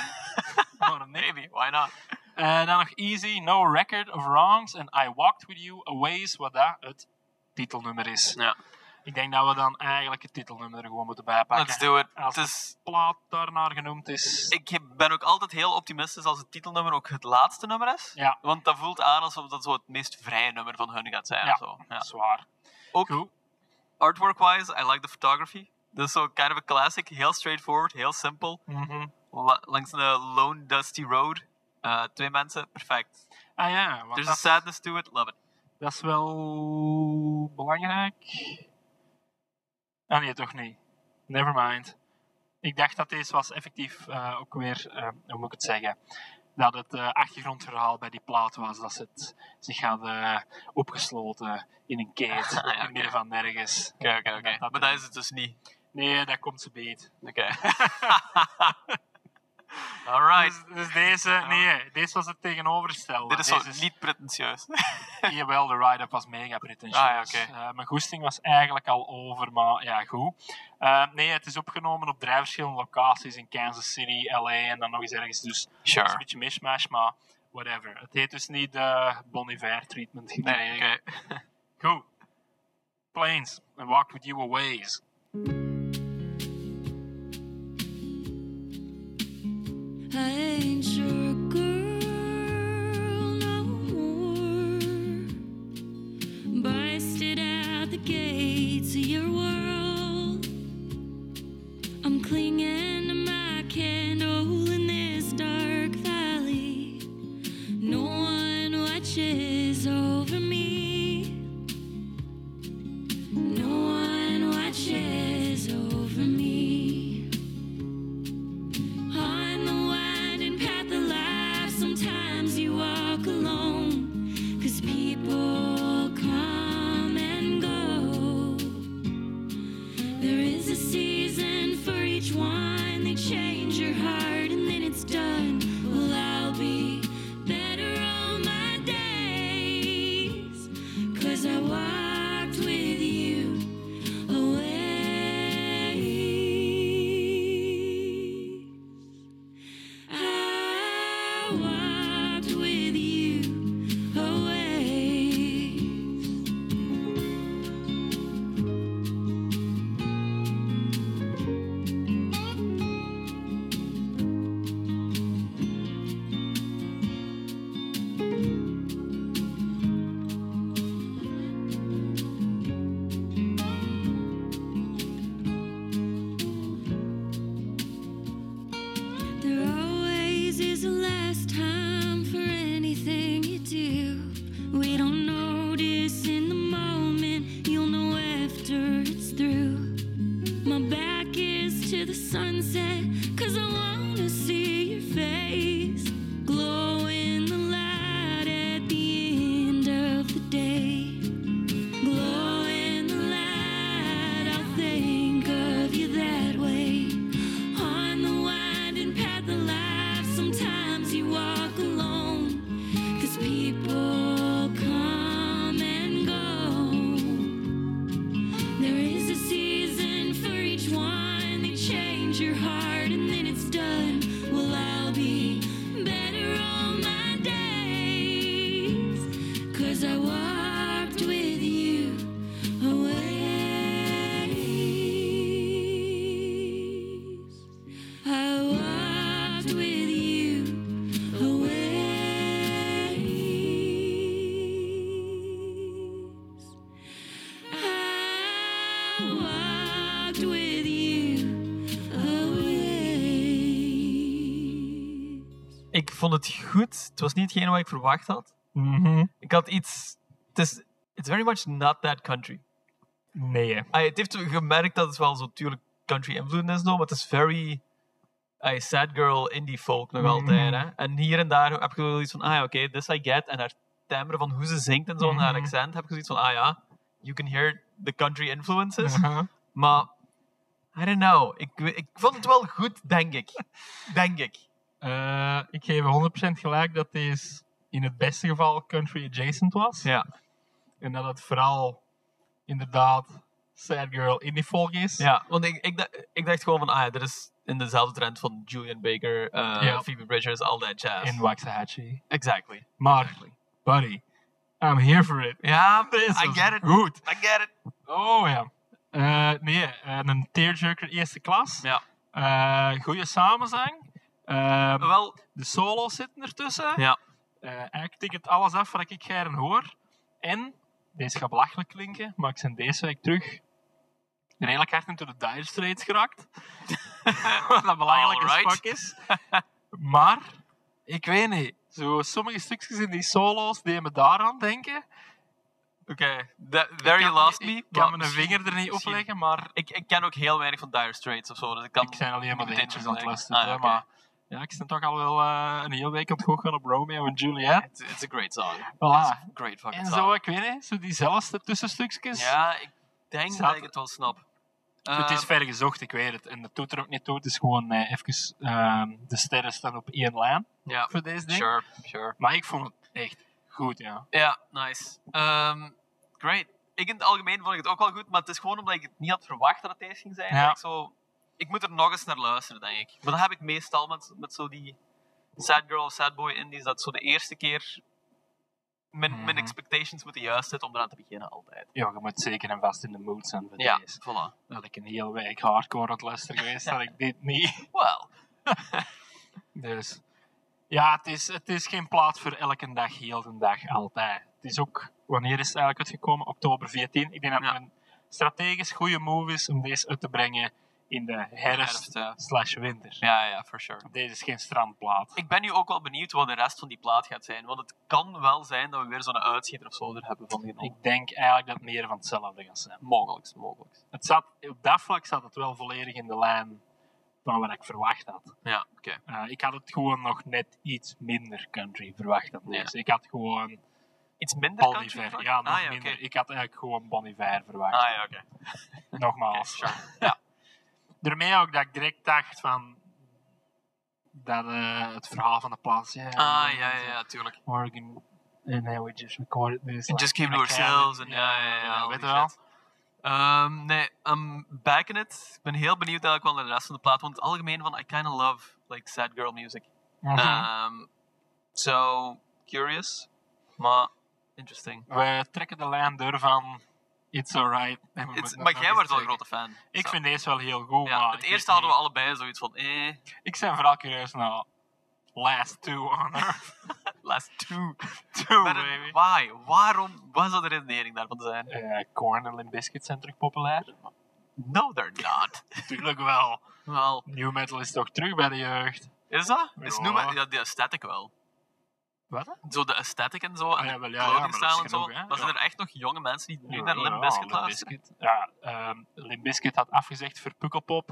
Speaker 2: maar nee.
Speaker 3: Maybe, why not?
Speaker 2: Eh, dan nog Easy, No Record of Wrongs en I Walked With You A Ways, wat dat het titelnummer is.
Speaker 3: Ja.
Speaker 2: Ik denk dat we dan eigenlijk het titelnummer er gewoon moeten bijpakken.
Speaker 3: Let's do it. Dus
Speaker 2: Als-
Speaker 3: Het is,
Speaker 2: plaat daarnaar genoemd is.
Speaker 3: ik ben ook altijd heel optimistisch als het titelnummer ook het laatste nummer is.
Speaker 2: Ja.
Speaker 3: Want dat voelt aan alsof dat zo het meest vrije nummer van hun gaat zijn.
Speaker 2: Ja.
Speaker 3: of Zo. Ja.
Speaker 2: Zwaar.
Speaker 3: Ook
Speaker 2: Goed.
Speaker 3: artwork-wise, I like the photography. Dus zo kind of a classic, heel straightforward, heel simpel.
Speaker 2: Mhm.
Speaker 3: La- langs een lone dusty road. Eh, twee mensen, perfect.
Speaker 2: Ah ja, want
Speaker 3: There's a
Speaker 2: dat,
Speaker 3: sadness to it, love it.
Speaker 2: dat is wel belangrijk. Ah nee, toch niet. Never mind. Ik dacht dat deze was effectief eh, ook weer, eh, hoe moet ik het zeggen, dat het eh, achtergrondverhaal bij die plaat was. Dat ze het, zich hadden opgesloten in een keet,
Speaker 3: Ah, ja,
Speaker 2: in het midden van nergens.
Speaker 3: Oké, oké, oké.
Speaker 2: Dat- dat
Speaker 3: Maar dat is het dus niet.
Speaker 2: Nee, dat komt ze beet.
Speaker 3: Oké. Alright.
Speaker 2: Dus, dus deze, nee, deze was het tegenovergestelde.
Speaker 3: Dit is zo
Speaker 2: Deze
Speaker 3: niet pretentieus.
Speaker 2: Jawel, de ride-up was mega pretentieus.
Speaker 3: Ah, ja, oké.
Speaker 2: Eh, mijn goesting was eigenlijk al over, maar ja, goed. Eh, nee, het is opgenomen op drie verschillende locaties in Kansas City, LA en dan nog eens ergens. Dus het is een
Speaker 3: Sure.
Speaker 2: beetje mishmash, maar whatever. Het heeft dus niet de Bon Iver treatment gekregen.
Speaker 3: Nee, oké.
Speaker 2: Goed. Planes, and walked with you a ways.
Speaker 6: I ain't your girl no more. Busted out the gates of your world. I'm clinging to my candle in this dark valley. No one watches over me. No one watches over me. On the winding path of life, sometimes you walk alone. Cause people come and go. There is a season for each one. They change your heart and then it's done. Well, I'll be better on my days. Cause I walked with you away. I walked with you away. There always is a last time for anything you do. We don't notice in the moment, you'll know after it's through. My back is to the sunset, cause I wanna see your face. Glow in the light at the end of the day. Glow in the light, I'll think of you that way. On the winding path of life, sometimes you walk alone. Cause people come and go. There is a season for each one. They change your heart and then it's done. Well, I'll be better on my days. Cause I walked with you away. I walked with you away. I walked with you away.
Speaker 3: Ik vond het goed. Het was niet hetgeen wat ik verwacht had. Ik had iets... Het is... It's very much not that country.
Speaker 2: Nee. hè.
Speaker 3: Ah, het heeft gemerkt dat het wel zo natuurlijk country invloed is, nog, maar het is very ah, sad girl indie folk
Speaker 2: Mhm.
Speaker 3: nog altijd. Hè? En hier en daar heb je wel iets van, ah ja, oké, this I get. En haar timbre van hoe ze zingt en zo, en haar
Speaker 2: Mhm.
Speaker 3: accent, heb je zoiets van, ah ja, you can hear the country influences.
Speaker 2: Uh-huh.
Speaker 3: Maar, I don't know, ik, we- ik vond het wel goed, denk ik. denk ik.
Speaker 2: Eh, ik geef 100% gelijk dat deze in het beste geval country adjacent was.
Speaker 3: Ja,
Speaker 2: En dat het vooral inderdaad sad girl indie folk is.
Speaker 3: ja want ik, ik, da- ik dacht gewoon van, ah ja, dit is in dezelfde trend van Julian Baker, eh,
Speaker 2: Ja.
Speaker 3: Phoebe Bridgers, al dat jazz.
Speaker 2: In Waxahachie.
Speaker 3: exactly.
Speaker 2: Maar, buddy, I'm here for it.
Speaker 3: Ja,
Speaker 2: This
Speaker 3: I
Speaker 2: was
Speaker 3: get it.
Speaker 2: Goed.
Speaker 3: I get it.
Speaker 2: Oh ja. Eh, nee, eh, een tearjerker eerste klas.
Speaker 3: Ja.
Speaker 2: Eh, goede samenzang. Ehm,
Speaker 3: Wel,
Speaker 2: de solo's zitten ertussen.
Speaker 3: Ja.
Speaker 2: Eh, eigenlijk tikt alles af wat ik graag hoor. En, deze gaat belachelijk klinken, maar ik ben deze week terug redelijk hard into de Dire Straits geraakt. wat dat belangrijk als
Speaker 3: Alright.
Speaker 2: fuck is. maar, ik weet niet. Zo, sommige stukjes in die solo's die me daaraan denken.
Speaker 3: oké, that- there you lost me.
Speaker 2: Ik
Speaker 3: maar
Speaker 2: kan mijn
Speaker 3: misschien-
Speaker 2: vinger er niet op
Speaker 3: misschien-
Speaker 2: leggen, maar
Speaker 3: Ik, ik ken ook heel weinig van Dire Straits of zo, dus ik kan...
Speaker 2: ik zijn alleen maar de
Speaker 3: moet
Speaker 2: hitjes aan het
Speaker 3: denken.
Speaker 2: luisteren.
Speaker 3: Ah,
Speaker 2: hè,
Speaker 3: oké.
Speaker 2: Maar ja, ik ben toch al wel eh, een hele week aan het gokken op Romeo en Juliet.
Speaker 3: It's, it's a great song.
Speaker 2: Voilà.
Speaker 3: Great fucking
Speaker 2: En
Speaker 3: song.
Speaker 2: zo, ik weet niet, zo diezelfde tussenstukjes.
Speaker 3: Ja, ik denk
Speaker 2: Zat-
Speaker 3: dat ik het wel snap.
Speaker 2: het is
Speaker 3: Ehm,
Speaker 2: ver gezocht, ik weet het. En dat doet er ook niet toe. Het is gewoon eh, even ehm, de sterren staan op één lijn
Speaker 3: Ja,
Speaker 2: voor deze ding.
Speaker 3: sure, sure.
Speaker 2: Maar ik vond het echt goed, ja.
Speaker 3: Ja, nice. Ehm, great. Ik in het algemeen vond ik het ook wel goed, maar het is gewoon omdat ik het niet had verwacht dat het deze ging zijn.
Speaker 2: Ja.
Speaker 3: dat Ik, zo, ik moet er nog eens naar luisteren, denk ik. Maar dat heb ik meestal met, met zo die sad girl of sad boy indies, dat zo de eerste keer mijn, mijn
Speaker 2: Mhm.
Speaker 3: expectations moeten juist zitten om eraan te beginnen altijd.
Speaker 2: Ja, je moet zeker en vast in de mood zijn voor
Speaker 3: Ja,
Speaker 2: deze.
Speaker 3: voilà.
Speaker 2: Had ik een heel week hardcore aan het luisteren geweest, had ik dit niet.
Speaker 3: Well,
Speaker 2: Dus ja, het is, het is geen plaat voor elke dag, heel de dag, altijd. Het is ook, wanneer is het eigenlijk uitgekomen? Oktober 14. Ik denk dat
Speaker 3: Ja.
Speaker 2: het een strategisch goede move is om deze uit te brengen in de
Speaker 3: herfst.
Speaker 2: herfst
Speaker 3: eh,
Speaker 2: slash winter.
Speaker 3: ja, ja, for sure.
Speaker 2: Deze is geen strandplaat.
Speaker 3: Ik ben nu ook wel benieuwd wat de rest van die plaat gaat zijn, want het kan wel zijn dat we weer zo'n uitschieter of zo er hebben van die
Speaker 2: Ik denk eigenlijk dat het meer van hetzelfde gaat zijn.
Speaker 3: Mogelijks, mogelijks.
Speaker 2: Het zat, op dat vlak zat het wel volledig in de lijn van wat ik verwacht had.
Speaker 3: Ja, oké.
Speaker 2: Eh, ik had het gewoon nog net iets minder country verwacht dan
Speaker 3: Ja.
Speaker 2: deze. Ik had gewoon
Speaker 3: Iets minder
Speaker 2: Bon
Speaker 3: country?
Speaker 2: Iver.
Speaker 3: rock?
Speaker 2: Ja, nog
Speaker 3: ah, ja,
Speaker 2: minder.
Speaker 3: oké.
Speaker 2: Ik had eigenlijk gewoon Bon Iver verwacht.
Speaker 3: Ah ja, oké.
Speaker 2: Nogmaals.
Speaker 3: Sure.
Speaker 2: Daarmee ook dat ik direct dacht van... Dat eh, het verhaal van de plaats... Ja,
Speaker 3: Ah ja, ja, ja, tuurlijk.
Speaker 2: Oregon, and then we just recorded this.
Speaker 3: It
Speaker 2: like,
Speaker 3: just came to
Speaker 2: in a cabin.
Speaker 3: ourselves. En, ja, ja, ja, al
Speaker 2: weet je
Speaker 3: die
Speaker 2: wel?
Speaker 3: shit. Ehm, nee, I'm back in it. Ik ben heel benieuwd eigenlijk wel naar de rest van de plaat. Want in het algemeen van, I kinda love like sad girl music.
Speaker 2: Mhm.
Speaker 3: Ehm, so, curious. Maar, interesting.
Speaker 2: We trekken de lijn door van... It's alright. en we
Speaker 3: Uh-huh. It's-
Speaker 2: moeten
Speaker 3: maar
Speaker 2: nog
Speaker 3: jij
Speaker 2: eens
Speaker 3: werd wel een
Speaker 2: trekken.
Speaker 3: grote fan.
Speaker 2: Ik
Speaker 3: Zo.
Speaker 2: vind deze wel heel goed,
Speaker 3: Ja,
Speaker 2: maar...
Speaker 3: het
Speaker 2: ik
Speaker 3: eerste
Speaker 2: weet
Speaker 3: hadden we allebei zoiets van, eh,
Speaker 2: niet- Ik ben vooral curieus naar... Last two on earth.
Speaker 3: last two.
Speaker 2: two,
Speaker 3: Maar dan-
Speaker 2: baby.
Speaker 3: why? Waarom? Wat zou de redenering daarvan zijn?
Speaker 2: eh Korn en Limp Bizkit zijn terug populair.
Speaker 3: No, they're not.
Speaker 2: Natuurlijk wel.
Speaker 3: Wel,
Speaker 2: New metal is toch terug bij de jeugd.
Speaker 3: Is dat? Is
Speaker 2: Ja.
Speaker 3: nu maar, ja, de aesthetic wel.
Speaker 2: Wat?
Speaker 3: Zo de aesthetic en zo, en
Speaker 2: Oh, ja,
Speaker 3: de
Speaker 2: wel, Ah, ja, ja,
Speaker 3: clothing
Speaker 2: maar dat
Speaker 3: style
Speaker 2: is
Speaker 3: en zo.
Speaker 2: genoeg, hè?
Speaker 3: Maar zijn
Speaker 2: Ja.
Speaker 3: er echt nog jonge mensen die nu
Speaker 2: Ah,
Speaker 3: naar Limp Bizkit luisteren?
Speaker 2: Ja, ehm Limp Bizkit had afgezegd voor Pukkelpop.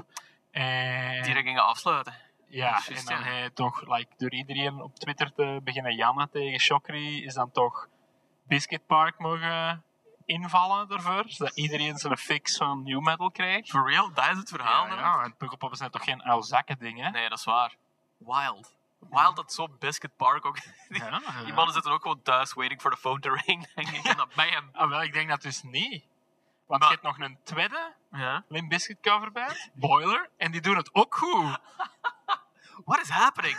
Speaker 2: En,
Speaker 3: Die er gingen afsluiten.
Speaker 2: ja,
Speaker 3: Juist,
Speaker 2: en dan
Speaker 3: ja.
Speaker 2: hij toch like, door iedereen op Twitter te beginnen jammen tegen Chokri, is dan toch Biscuit Park mogen invallen daarvoor, zodat iedereen zijn fix van new metal krijgt.
Speaker 3: For real? Dat is het verhaal.
Speaker 2: Ja,
Speaker 3: dan?
Speaker 2: ja, en Pukkelpop zijn toch geen oude zakken dingen?
Speaker 3: Nee, dat is waar. Wild. Wild dat zo Biscuit Park ook. Die,
Speaker 2: Ja, ja.
Speaker 3: die mannen zitten ook gewoon thuis waiting for the phone to ring, denk ik. En dan bam.
Speaker 2: Ah, wel, ik denk dat dus niet. Want
Speaker 3: Maar-
Speaker 2: je hebt nog een tweede
Speaker 3: Ja.
Speaker 2: Limp Bizkit coverband, Boiler, en die doen het ook goed.
Speaker 3: What is happening?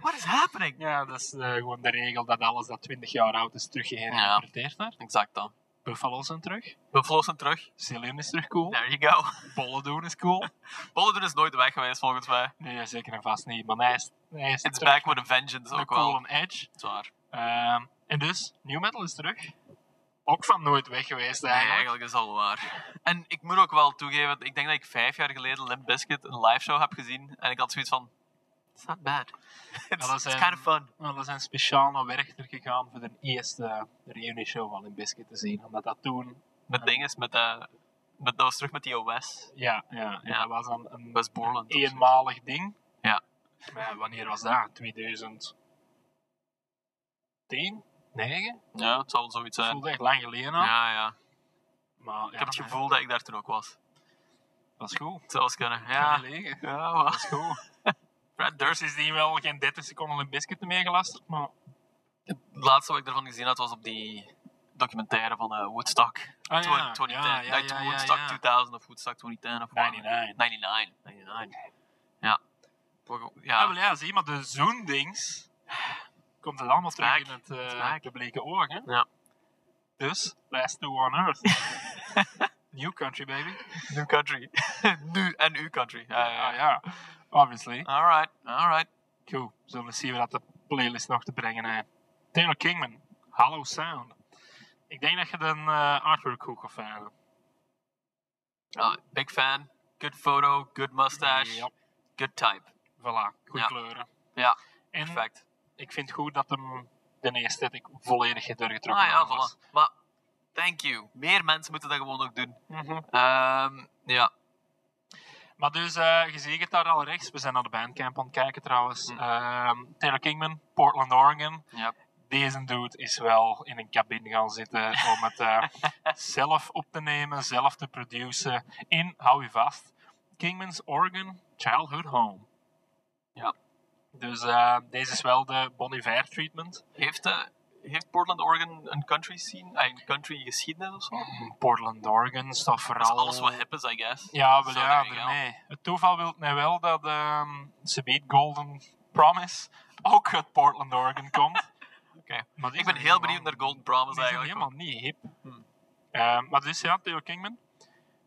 Speaker 3: What is happening?
Speaker 2: Ja, dat is eh, gewoon de regel dat alles dat 20 jaar oud is terug geïnterpreteerd wordt.
Speaker 3: Exact dan.
Speaker 2: Buffalo's zijn terug,
Speaker 3: We vlossen terug.
Speaker 2: Cillian is terug cool,
Speaker 3: There you go.
Speaker 2: Bollen doen is cool.
Speaker 3: Bolle doen is nooit weg geweest volgens mij.
Speaker 2: Nee, zeker en vast niet, maar hij is, hij is
Speaker 3: It's
Speaker 2: terug
Speaker 3: back with a
Speaker 2: met
Speaker 3: vengeance
Speaker 2: een
Speaker 3: ook
Speaker 2: cool
Speaker 3: wel.
Speaker 2: een edge.
Speaker 3: Zwaar.
Speaker 2: Ehm, en dus, New Metal is terug. Ook van nooit weg geweest
Speaker 3: Nee,
Speaker 2: eigenlijk.
Speaker 3: eigenlijk is dat wel waar. En ik moet ook wel toegeven, ik denk dat ik vijf jaar geleden Limp Bizkit een live show heb gezien. En ik had zoiets van, it's not bad. It's,
Speaker 2: dat
Speaker 3: it's
Speaker 2: zijn-
Speaker 3: kind of fun.
Speaker 2: Maar we zijn speciaal naar Werchter gegaan voor de eerste reunieshow show van Limp Bizkit te zien. Omdat dat toen,
Speaker 3: Met ding is, met, eh, met, dat was terug met die OS.
Speaker 2: ja, ja, en
Speaker 3: Ja.
Speaker 2: dat was dan een
Speaker 3: West Borland. of zo.
Speaker 2: eenmalig ding.
Speaker 3: Ja.
Speaker 2: Maar wanneer was dat? 2010? 9?
Speaker 3: Ja, het zal zoiets
Speaker 2: Dat
Speaker 3: zijn.
Speaker 2: voelde echt lang geleden al.
Speaker 3: Ja, ja.
Speaker 2: Maar ja,
Speaker 3: Ik heb het gevoel dat ik daar toen ook was.
Speaker 2: Dat is goed.
Speaker 3: Het zou eens kunnen.
Speaker 2: Ja.
Speaker 3: Ja,
Speaker 2: Dat
Speaker 3: ja wel.
Speaker 2: is goed.
Speaker 3: Fred
Speaker 2: Dus
Speaker 3: Durst.
Speaker 2: is die wel geen 30 seconden een biscuit meer gelasterd, maar...
Speaker 3: Het laatste wat ik ervan gezien had was op die documentaire van eh, Woodstock.
Speaker 2: Ah,
Speaker 3: Twen- 2010. Nee, Woodstock 2000 of Woodstock 2010 of
Speaker 2: 99.
Speaker 3: 99. 99. Ja. Toch- Ja.
Speaker 2: Ah, wel ja, zie maar de Zoendings komt het allemaal terug
Speaker 3: Smaak.
Speaker 2: in het eh,
Speaker 3: Smaak.
Speaker 2: publieke oor, hè?
Speaker 3: Ja.
Speaker 2: Dus, last two on earth. New country, baby.
Speaker 3: New country. nu en uw country. Ja, ja,
Speaker 2: Ja,
Speaker 3: ja.
Speaker 2: Eh, ah, ja. Obviously.
Speaker 3: Alright, alright.
Speaker 2: Goed, we zullen zien wat de playlist nog te brengen heeft. Taylor Kingman, Hollow Sound. Ik denk dat je de eh, artwork goed gaat vinden.
Speaker 3: Uh, big fan. Good photo, good mustache,
Speaker 2: Ja,
Speaker 3: good type.
Speaker 2: voilà, goede
Speaker 3: Ja.
Speaker 2: kleuren.
Speaker 3: Ja,
Speaker 2: En
Speaker 3: perfect.
Speaker 2: ik vind goed dat hem de aesthetic volledig heeft doorgetrokken.
Speaker 3: Ah ja,
Speaker 2: was.
Speaker 3: voilà. Maar, thank you. Meer mensen moeten dat gewoon ook doen.
Speaker 2: Mhm.
Speaker 3: Ehm, ja,
Speaker 2: Maar dus, eh je ziet het daar al rechts. We zijn naar de bandcamp aan het kijken trouwens.
Speaker 3: Hm.
Speaker 2: Ehm, Taylor Kingman, Portland, Oregon.
Speaker 3: ja.
Speaker 2: Deze dude is wel in een cabine gaan zitten om het eh, zelf op te nemen, zelf te produceren in, hou je vast, Kingman's Oregon Childhood Home. Ja. Dus eh, deze is wel de Bon Iver treatment.
Speaker 3: Heeft, eh, heeft Portland, Oregon een country scene? Ah, een country geschiedenis of zo?
Speaker 2: Portland, Oregon staat
Speaker 3: Hm. Dat is
Speaker 2: vooral... eh,
Speaker 3: alles wat hip is, I guess.
Speaker 2: Ja, wel
Speaker 3: Zo
Speaker 2: ja,
Speaker 3: denk ik wel.
Speaker 2: daarmee. Het toeval wil mij wel dat ehm ze weet Golden Promise ook uit Portland, Oregon komt.
Speaker 3: Oké.
Speaker 2: Maar die
Speaker 3: Ik ben
Speaker 2: zijn
Speaker 3: heel
Speaker 2: helemaal
Speaker 3: benieuwd naar
Speaker 2: niet-
Speaker 3: Golden Promise
Speaker 2: Die zijn
Speaker 3: eigenlijk. Hmm.
Speaker 2: helemaal niet hip. Ehm, maar dus ja, Theo Kingman.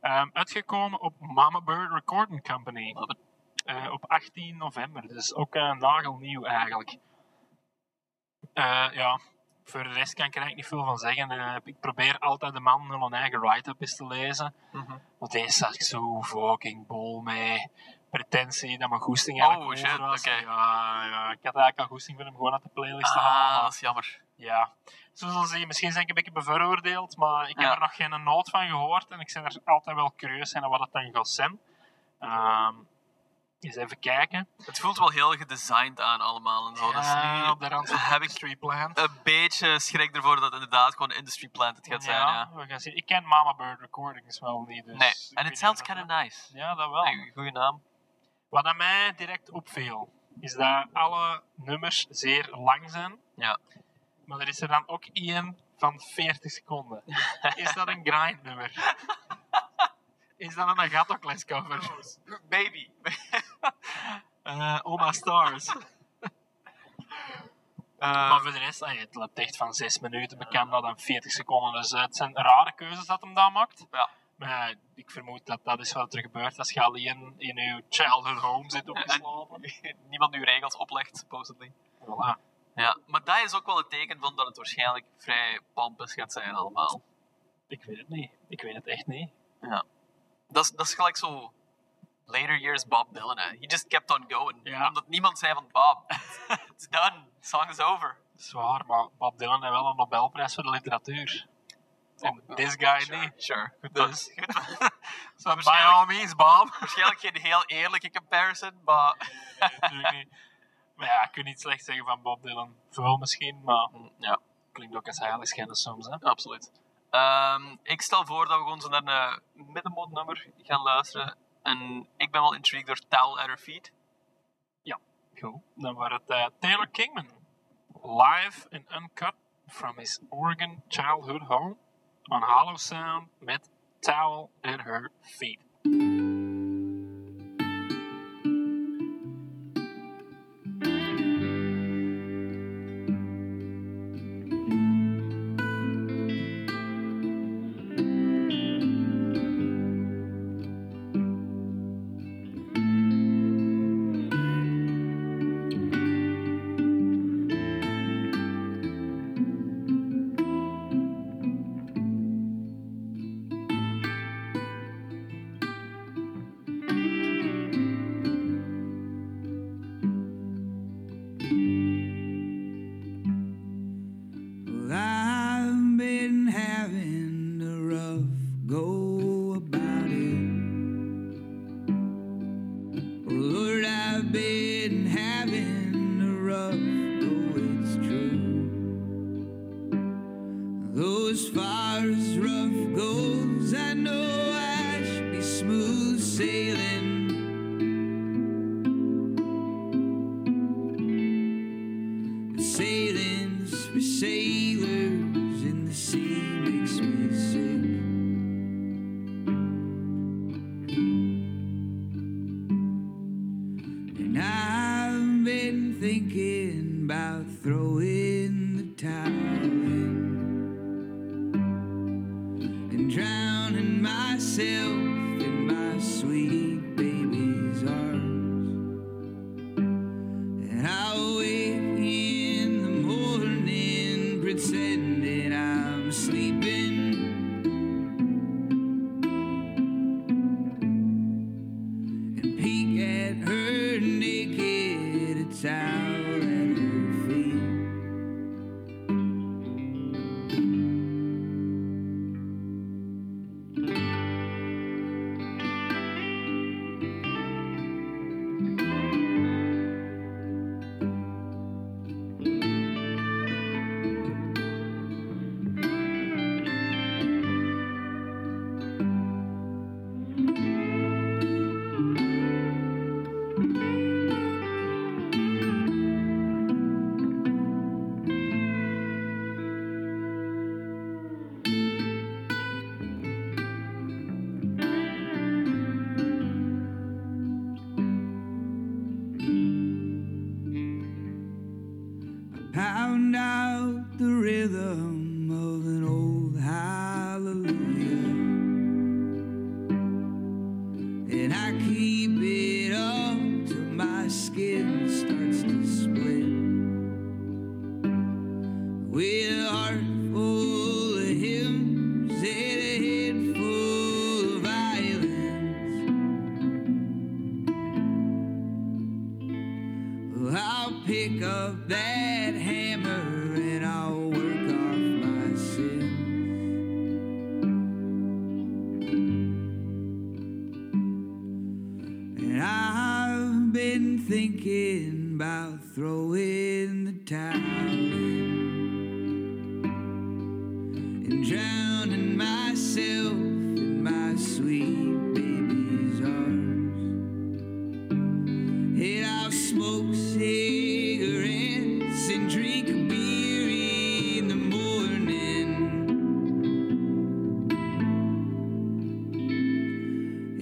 Speaker 2: Ehm, uitgekomen op Mama Bird Recording Company.
Speaker 3: Love it.
Speaker 2: Eh, op 18 november. Dus ook eh, nagelnieuw eigenlijk. Eh, ja, voor de rest kan ik er eigenlijk niet veel van zeggen. Eh, ik probeer altijd de man hun eigen write-up eens te lezen.
Speaker 3: Mhm.
Speaker 2: Want deze zag ik zo fucking bol mee. Pretentie dat mijn goesting
Speaker 3: Oh,
Speaker 2: eigenlijk over
Speaker 3: shit,
Speaker 2: was.
Speaker 3: oké.
Speaker 2: Ja, ja, ik had eigenlijk al goesting voor hem gewoon uit de playlist te halen.
Speaker 3: Ah,
Speaker 2: maar-
Speaker 3: dat is jammer.
Speaker 2: ja, zo zal zien. Misschien zijn ik een beetje bevooroordeeld, maar ik
Speaker 3: Ja.
Speaker 2: heb er nog geen nood van gehoord. En ik ben er altijd wel curieus naar wat dat dan gaat zijn. Ehm, eens even kijken.
Speaker 3: Het voelt wel heel gedesigned aan allemaal en zo. dus
Speaker 2: Ja,
Speaker 3: nu
Speaker 2: op de rand van
Speaker 3: heb ik
Speaker 2: Street Plant.
Speaker 3: een beetje schrik ervoor dat het inderdaad gewoon industry plant het gaat zijn. Ja.
Speaker 2: We gaan zien. Ik ken Mama Bird Recordings wel niet. Dus
Speaker 3: Nee,
Speaker 2: ik weet
Speaker 3: en
Speaker 2: niet
Speaker 3: it sounds
Speaker 2: of dat-
Speaker 3: kind of nice.
Speaker 2: Ja, dat wel.
Speaker 3: Hey, goeie naam.
Speaker 2: Wat aan mij direct opviel, is dat alle nummers zeer lang zijn.
Speaker 3: Ja.
Speaker 2: Maar er is er dan ook één van 40 seconden. Is dat een grindnummer? Is dat een Agathocles cover?
Speaker 3: Baby.
Speaker 2: Eh Oma Stars. maar voor de rest, ah, het loopt echt van 6 minuten bekend dat dan 40 seconden. Dus eh, het zijn rare keuzes dat hem daar maakt.
Speaker 3: Ja.
Speaker 2: Maar ja, ik vermoed dat dat is wat er gebeurt als je alleen in je childhood home zit opgeslapen.
Speaker 3: Niemand nu regels oplegt, supposedly.
Speaker 2: Voilà.
Speaker 3: Ja, maar dat is ook wel het teken van dat het waarschijnlijk vrij pompous gaat zijn allemaal.
Speaker 2: Ik weet het niet. Ik weet het echt niet.
Speaker 3: Dat is, dat is gelijk zo later years Bob Dylan, hè. He just kept on going.
Speaker 2: Ja.
Speaker 3: Omdat niemand zei van Bob, it's done, song is over.
Speaker 2: Zwaar, maar Bob Dylan heeft wel een Nobelprijs voor de literatuur. En this guy
Speaker 3: sure,
Speaker 2: niet.
Speaker 3: Sure. Dus- Goed
Speaker 2: Dus-
Speaker 3: dan. Goed
Speaker 2: So by
Speaker 3: Ah, waarschijnlijk-
Speaker 2: all means, Bob.
Speaker 3: Waarschijnlijk geen heel eerlijke comparison, maar...
Speaker 2: Natuurlijk niet. Maar ja, ik kan niet slecht zeggen van Bob Dylan. Vooral misschien, maar
Speaker 3: Mm, Ja,
Speaker 2: klinkt ook als heiligschennis soms. Hè?
Speaker 3: absoluut. Ehm, ik stel voor dat we gewoon zo naar een middenmootnummer gaan luisteren. En ik ben wel intrigued door Towel at Her Feet.
Speaker 2: Goed. Dan was het eh, Taylor Kingman. Live and uncut from his Oregon childhood home. On Hollow Sound met Towel at Her Feet.
Speaker 5: Well, I've been having a rough go about it. Lord, I've been having a rough go, it's true. Though as far as rough goes, I know I should be smooth sailing. sailings for sailors in the sea makes me sick. And I've been thinking about throwing the towel in and drowning myself in my sweet baby's arms. And I wake in the morning pretending I'm sleeping. And peek at her naked, a towel at her feet. rhythm of an old hallelujah. And I keep it up till my skin starts to split. With a heart full of hymns and a head full of violins. Well, I'll pick up that hammer and I'll work off my sins. And I've been thinking about throwing the towel in and drowning myself in my sweet baby's arms. And I'll smoke cigarettes and drink beer in the morning.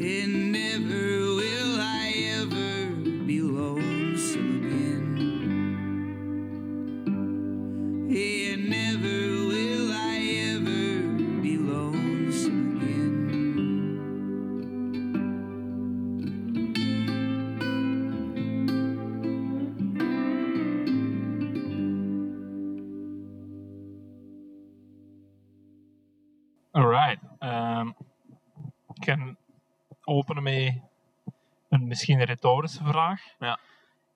Speaker 5: And never will I ever be lonesome again. And never will I ever be lonesome again.
Speaker 2: Alright. Ehm ik kan openen met een misschien retorische vraag.
Speaker 3: Ja.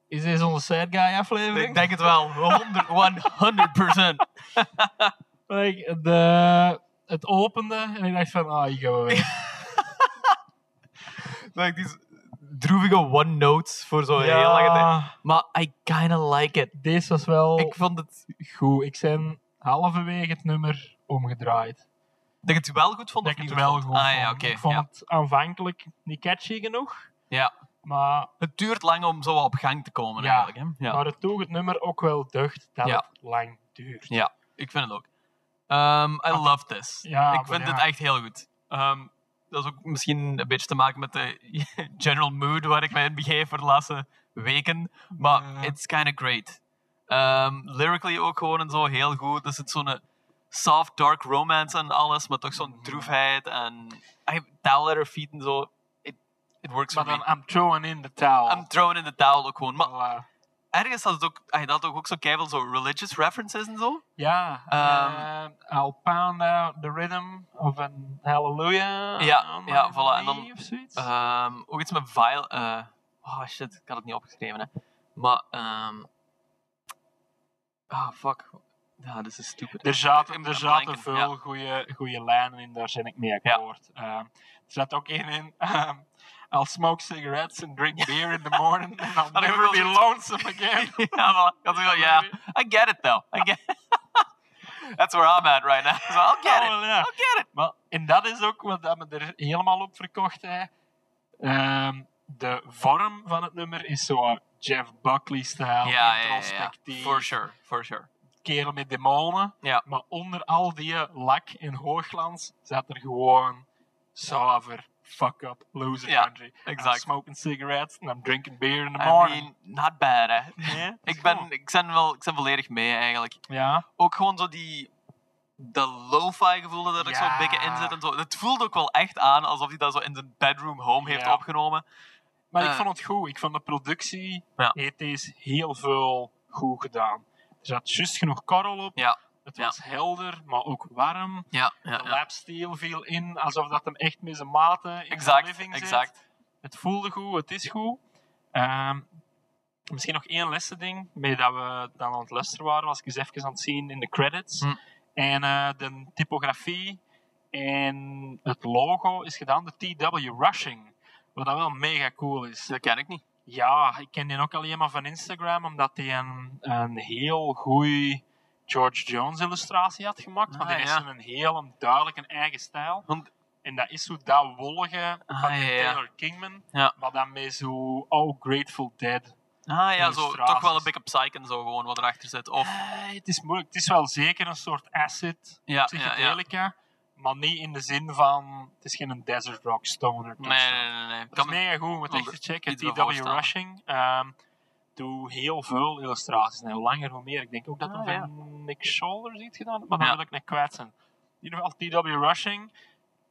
Speaker 2: Is deze onze sad guy aflevering?
Speaker 3: Ik denk het wel. 100, 100%.
Speaker 2: Like, de, het opende en ik dacht van, ah, hier gaan we weg.
Speaker 3: like die droevige one notes voor zo'n heel lange tijd. Oh. Maar I kinda like it.
Speaker 2: deze was wel
Speaker 3: Ik vond het
Speaker 2: goed. Ik ben halverwege het nummer omgedraaid.
Speaker 3: dat ik het wel goed vond.
Speaker 2: Dat
Speaker 3: of
Speaker 2: ik het
Speaker 3: niet
Speaker 2: wel
Speaker 3: vond.
Speaker 2: goed
Speaker 3: Ah ja,
Speaker 2: vond.
Speaker 3: oké.
Speaker 2: Ik vond
Speaker 3: ja.
Speaker 2: het aanvankelijk niet catchy genoeg,
Speaker 3: Ja.
Speaker 2: maar,
Speaker 3: Het duurt lang om zo wat op gang te komen
Speaker 2: Ja.
Speaker 3: eigenlijk. Hè? Ja.
Speaker 2: maar het toeg het nummer ook wel deugd dat
Speaker 3: Ja.
Speaker 2: het lang duurt.
Speaker 3: ja, ik vind het ook. Ehm, I love this.
Speaker 2: Ah, Ja,
Speaker 3: ik
Speaker 2: maar
Speaker 3: vind
Speaker 2: ja.
Speaker 3: het echt heel goed. Ehm, dat is ook misschien een beetje te maken met de general mood waar ik mij in begeef voor de laatste weken. Maar
Speaker 2: Ja.
Speaker 3: it's kind of great. Ehm, lyrically ook gewoon en zo heel goed. Er zit zo'n eh, soft dark romance en alles, maar toch
Speaker 2: Mm.
Speaker 3: zo'n droefheid en I towel at her feet en zo. It, it works
Speaker 2: Maar Oh.
Speaker 3: for
Speaker 2: dan,
Speaker 3: me.
Speaker 2: I'm throwing in the towel.
Speaker 3: I'm thrown in the towel ook gewoon. Maar
Speaker 2: Voilà.
Speaker 3: ergens had het ook, hij had ook, ook zo keiveel zo religious references en zo.
Speaker 2: Ja,
Speaker 3: Ehm,
Speaker 2: eh, I'll pound out the rhythm of an hallelujah.
Speaker 3: Ja,
Speaker 2: on
Speaker 3: ja,
Speaker 2: my
Speaker 3: voilà, en dan,
Speaker 2: knee Of zoiets.
Speaker 3: Ehm, ook iets met vile. eh oh shit, ik had het niet opgeschreven. Hè. Maar, ehm ah fuck. Ja, dit is stupid.
Speaker 2: er zaten, er
Speaker 3: I'm
Speaker 2: zaten
Speaker 3: blanking, ja.
Speaker 2: veel goede goede lijnen in, daar ben ik mee akkoord. Ehm, er zat ook één in. ehm, I'll smoke cigarettes and drink beer in the morning and I'll
Speaker 3: Dat heb ik
Speaker 2: never
Speaker 3: wel
Speaker 2: be
Speaker 3: zoiets.
Speaker 2: lonesome again.
Speaker 3: ja, voilà. Ik had zoiets van, ja, I get it though. I get That's where I'm at right now. So I'll get
Speaker 2: Oh,
Speaker 3: it.
Speaker 2: wel, ja.
Speaker 3: I'll get it.
Speaker 2: Maar, en dat is ook wat dat me er helemaal op verkocht hè. Ehm, de vorm van het nummer is zo Jeff Buckley-stijl,
Speaker 3: Ja, ja, ja, ja.
Speaker 2: introspectief.
Speaker 3: For sure, for sure.
Speaker 2: kerel met demonen.
Speaker 3: Ja.
Speaker 2: Maar onder al die lak en hoogglans zat er gewoon zuiver, fuck up, loser
Speaker 3: Ja,
Speaker 2: country.
Speaker 3: exact.
Speaker 2: I'm smoking cigarettes and I'm drinking beer in the
Speaker 3: I
Speaker 2: morning.
Speaker 3: mean, not bad, hè.
Speaker 2: Nee,
Speaker 3: Ik ben, ik ben wel, ik ben volledig mee eigenlijk.
Speaker 2: Ja,
Speaker 3: ook gewoon zo die dat lo-fi gevoel dat ik zo
Speaker 2: Ja.
Speaker 3: een beetje in zit en zo. Het voelt ook wel echt aan alsof hij dat zo in zijn bedroom home heeft
Speaker 2: Ja.
Speaker 3: opgenomen.
Speaker 2: maar ik
Speaker 3: Eh.
Speaker 2: vond het goed. Ik vond de productie,
Speaker 3: Ja.
Speaker 2: het is heel veel goed gedaan. Er zat juist genoeg korrel op.
Speaker 3: Ja.
Speaker 2: Het
Speaker 3: Ja.
Speaker 2: was helder, maar ook warm.
Speaker 3: Ja, ja,
Speaker 2: De lapsteel viel in, alsof dat hem echt met zijn maten in de
Speaker 3: Exact,
Speaker 2: living zit.
Speaker 3: exact.
Speaker 2: Het voelde goed, het is goed. Ehm, misschien nog één laatste ding, mee dat we dan aan het luisteren waren, was ik eens even aan het zien in de credits.
Speaker 3: Hm.
Speaker 2: En eh, de typografie en het logo is gedaan door TW Rushing. Wat dat wel mega cool is.
Speaker 3: Dat ken ik niet.
Speaker 2: Ja, ik ken die ook alleen maar van Instagram, omdat hij een, een heel goeie George Jones illustratie had gemaakt. Maar
Speaker 3: Ah,
Speaker 2: die heeft
Speaker 3: ja.
Speaker 2: een heel duidelijk een eigen stijl.
Speaker 3: Want-
Speaker 2: en dat is zo dat wollige
Speaker 3: Ah,
Speaker 2: van die
Speaker 3: ja, ja.
Speaker 2: Taylor Kingman.
Speaker 3: Ja.
Speaker 2: Maar dan met zo Oh Grateful Dead.
Speaker 3: Ah ja, zo,
Speaker 2: Illustraties.
Speaker 3: toch wel een beetje psych en zo gewoon wat erachter zit. Of,
Speaker 2: Eh, het is moeilijk. Het is wel zeker een soort acid
Speaker 3: ja, ja, ja.
Speaker 2: psychedelica. Maar niet in de zin van... Het is geen desert rock stoner.
Speaker 3: Nee, nee, nee. nee.
Speaker 2: Dat
Speaker 3: Kan
Speaker 2: is
Speaker 3: me-
Speaker 2: mega goed, moet
Speaker 3: kan
Speaker 2: echt
Speaker 3: me
Speaker 2: te checken.
Speaker 3: iets bij
Speaker 2: TW
Speaker 3: voorstellen.
Speaker 2: Rushing. Ehm, doe heel veel illustraties. En hoe langer, hoe meer. Ik denk ook dat er
Speaker 3: Ah, ja.
Speaker 2: van Nick Shoulders iets gedaan heeft, maar dat
Speaker 3: Ja.
Speaker 2: wil ik niet kwijt zijn. In ieder geval TW Rushing,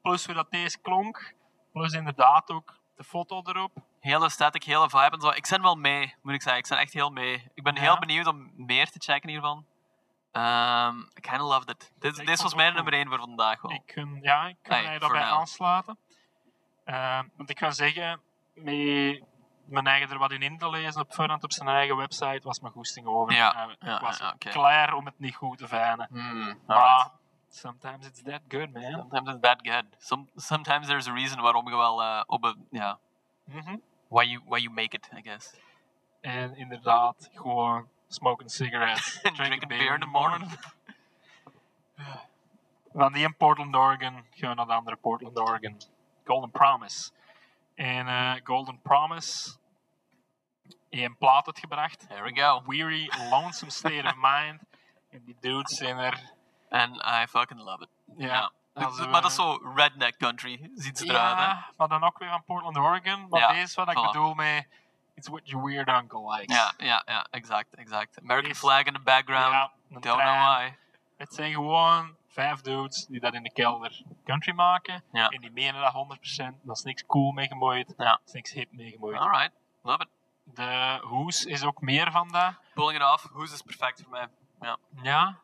Speaker 2: plus hoe dat deze klonk, plus inderdaad ook de foto erop.
Speaker 3: Hele static, hele vibe en zo. Ik ben wel mee, moet ik zeggen. Ik ben echt heel mee. Ik ben
Speaker 2: Ja.
Speaker 3: heel benieuwd om meer te checken hiervan. Ehm I kinda loved it. Dit,
Speaker 2: Ik vond
Speaker 3: dit was
Speaker 2: het
Speaker 3: mijn
Speaker 2: ook
Speaker 3: nummer 1 voor vandaag wel.
Speaker 2: Ik kun, ja, ik kan
Speaker 3: Allee,
Speaker 2: mij
Speaker 3: Oh. voor
Speaker 2: daarbij
Speaker 3: now.
Speaker 2: aansluiten. Eh, want ik wil zeggen, met mijn eigen er wat in in te lezen op voorhand op zijn eigen website was mijn goesting over.
Speaker 3: Ja,
Speaker 2: Eh,
Speaker 3: ja,
Speaker 2: ik was
Speaker 3: ja, oké.
Speaker 2: klaar om het niet goed te vinden.
Speaker 3: Hmm,
Speaker 2: Maar
Speaker 3: alright.
Speaker 2: sometimes it's that good, man.
Speaker 3: Sometimes it's that good. Some, sometimes there's a reason waarom je wel eh, op een... Ja,
Speaker 2: Mhm.
Speaker 3: why you, why you make it, I guess.
Speaker 2: En inderdaad, gewoon smoking cigarettes.
Speaker 3: And drinking beer in the morning.
Speaker 2: Van die in Portland, Oregon, gaan we naar de andere Portland, Oregon. Golden Promise. En eh, Golden Promise, één plaat uitgebracht.
Speaker 3: There we go.
Speaker 2: Weary, Lonesome State of Mind. En die dudes zijn er.
Speaker 3: And I fucking love it.
Speaker 2: Ja, als we-
Speaker 3: maar dat is zo redneck country, ziet ze eruit, hè?
Speaker 2: Ja, maar dan ook weer van Portland, Oregon. Maar
Speaker 3: Ja,
Speaker 2: deze is wat ik
Speaker 3: voilà.
Speaker 2: bedoel met... It's what your weird uncle likes.
Speaker 3: Ja, ja, ja, exact, exact. American
Speaker 2: Is-
Speaker 3: flag in the background.
Speaker 2: Ja, een
Speaker 3: Don't
Speaker 2: trein.
Speaker 3: know why.
Speaker 2: Het zijn gewoon vijf dudes die dat in de kelder country maken.
Speaker 3: Ja.
Speaker 2: En die menen dat 100%. Dat is niks cool mee gemoeid.
Speaker 3: Ja.
Speaker 2: Dat is niks hip mee gemoeid.
Speaker 3: Alright, love it.
Speaker 2: De hoes is ook meer van dat.
Speaker 3: Pulling it off, Who's is perfect voor mij.
Speaker 2: Ja.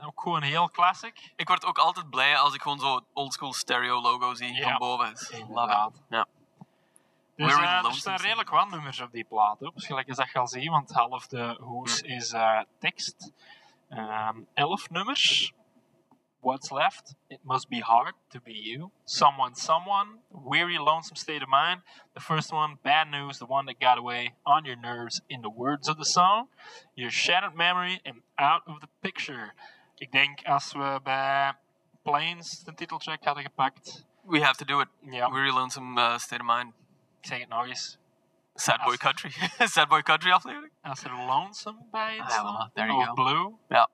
Speaker 2: Ook gewoon heel classic.
Speaker 3: Ik word ook altijd blij als ik gewoon zo oldschool stereo logo zie
Speaker 2: Ja.
Speaker 3: van boven. Dus Love it. Ja.
Speaker 2: Dus
Speaker 3: We're
Speaker 2: eh, er
Speaker 3: in Lonesome
Speaker 2: staan
Speaker 3: City.
Speaker 2: redelijk wat nummers op die plaat. Op. Dus gelijk als dat je al ziet, want half de hoes is eh, tekst. Ehm, elf nummers. What's left? It must be hard to be you. Someone, someone. Weary, lonesome state of mind. The first one, bad news. The one that got away. On your nerves. In the words of the song. Your shattered memory and out of the picture. Ik denk als we bij Planes de titeltrack hadden gepakt.
Speaker 3: We have to do it.
Speaker 2: Ja,
Speaker 3: We're lonesome uh, state of mind.
Speaker 2: ik zeg het nog eens.
Speaker 3: Sad boy
Speaker 2: Als-
Speaker 3: country. Sad boy country aflevering.
Speaker 2: Als er lonesome bij
Speaker 3: Ah,
Speaker 2: het
Speaker 3: ja,
Speaker 2: staat,
Speaker 3: voilà, there you
Speaker 2: of
Speaker 3: go.
Speaker 2: blue,
Speaker 3: Gotta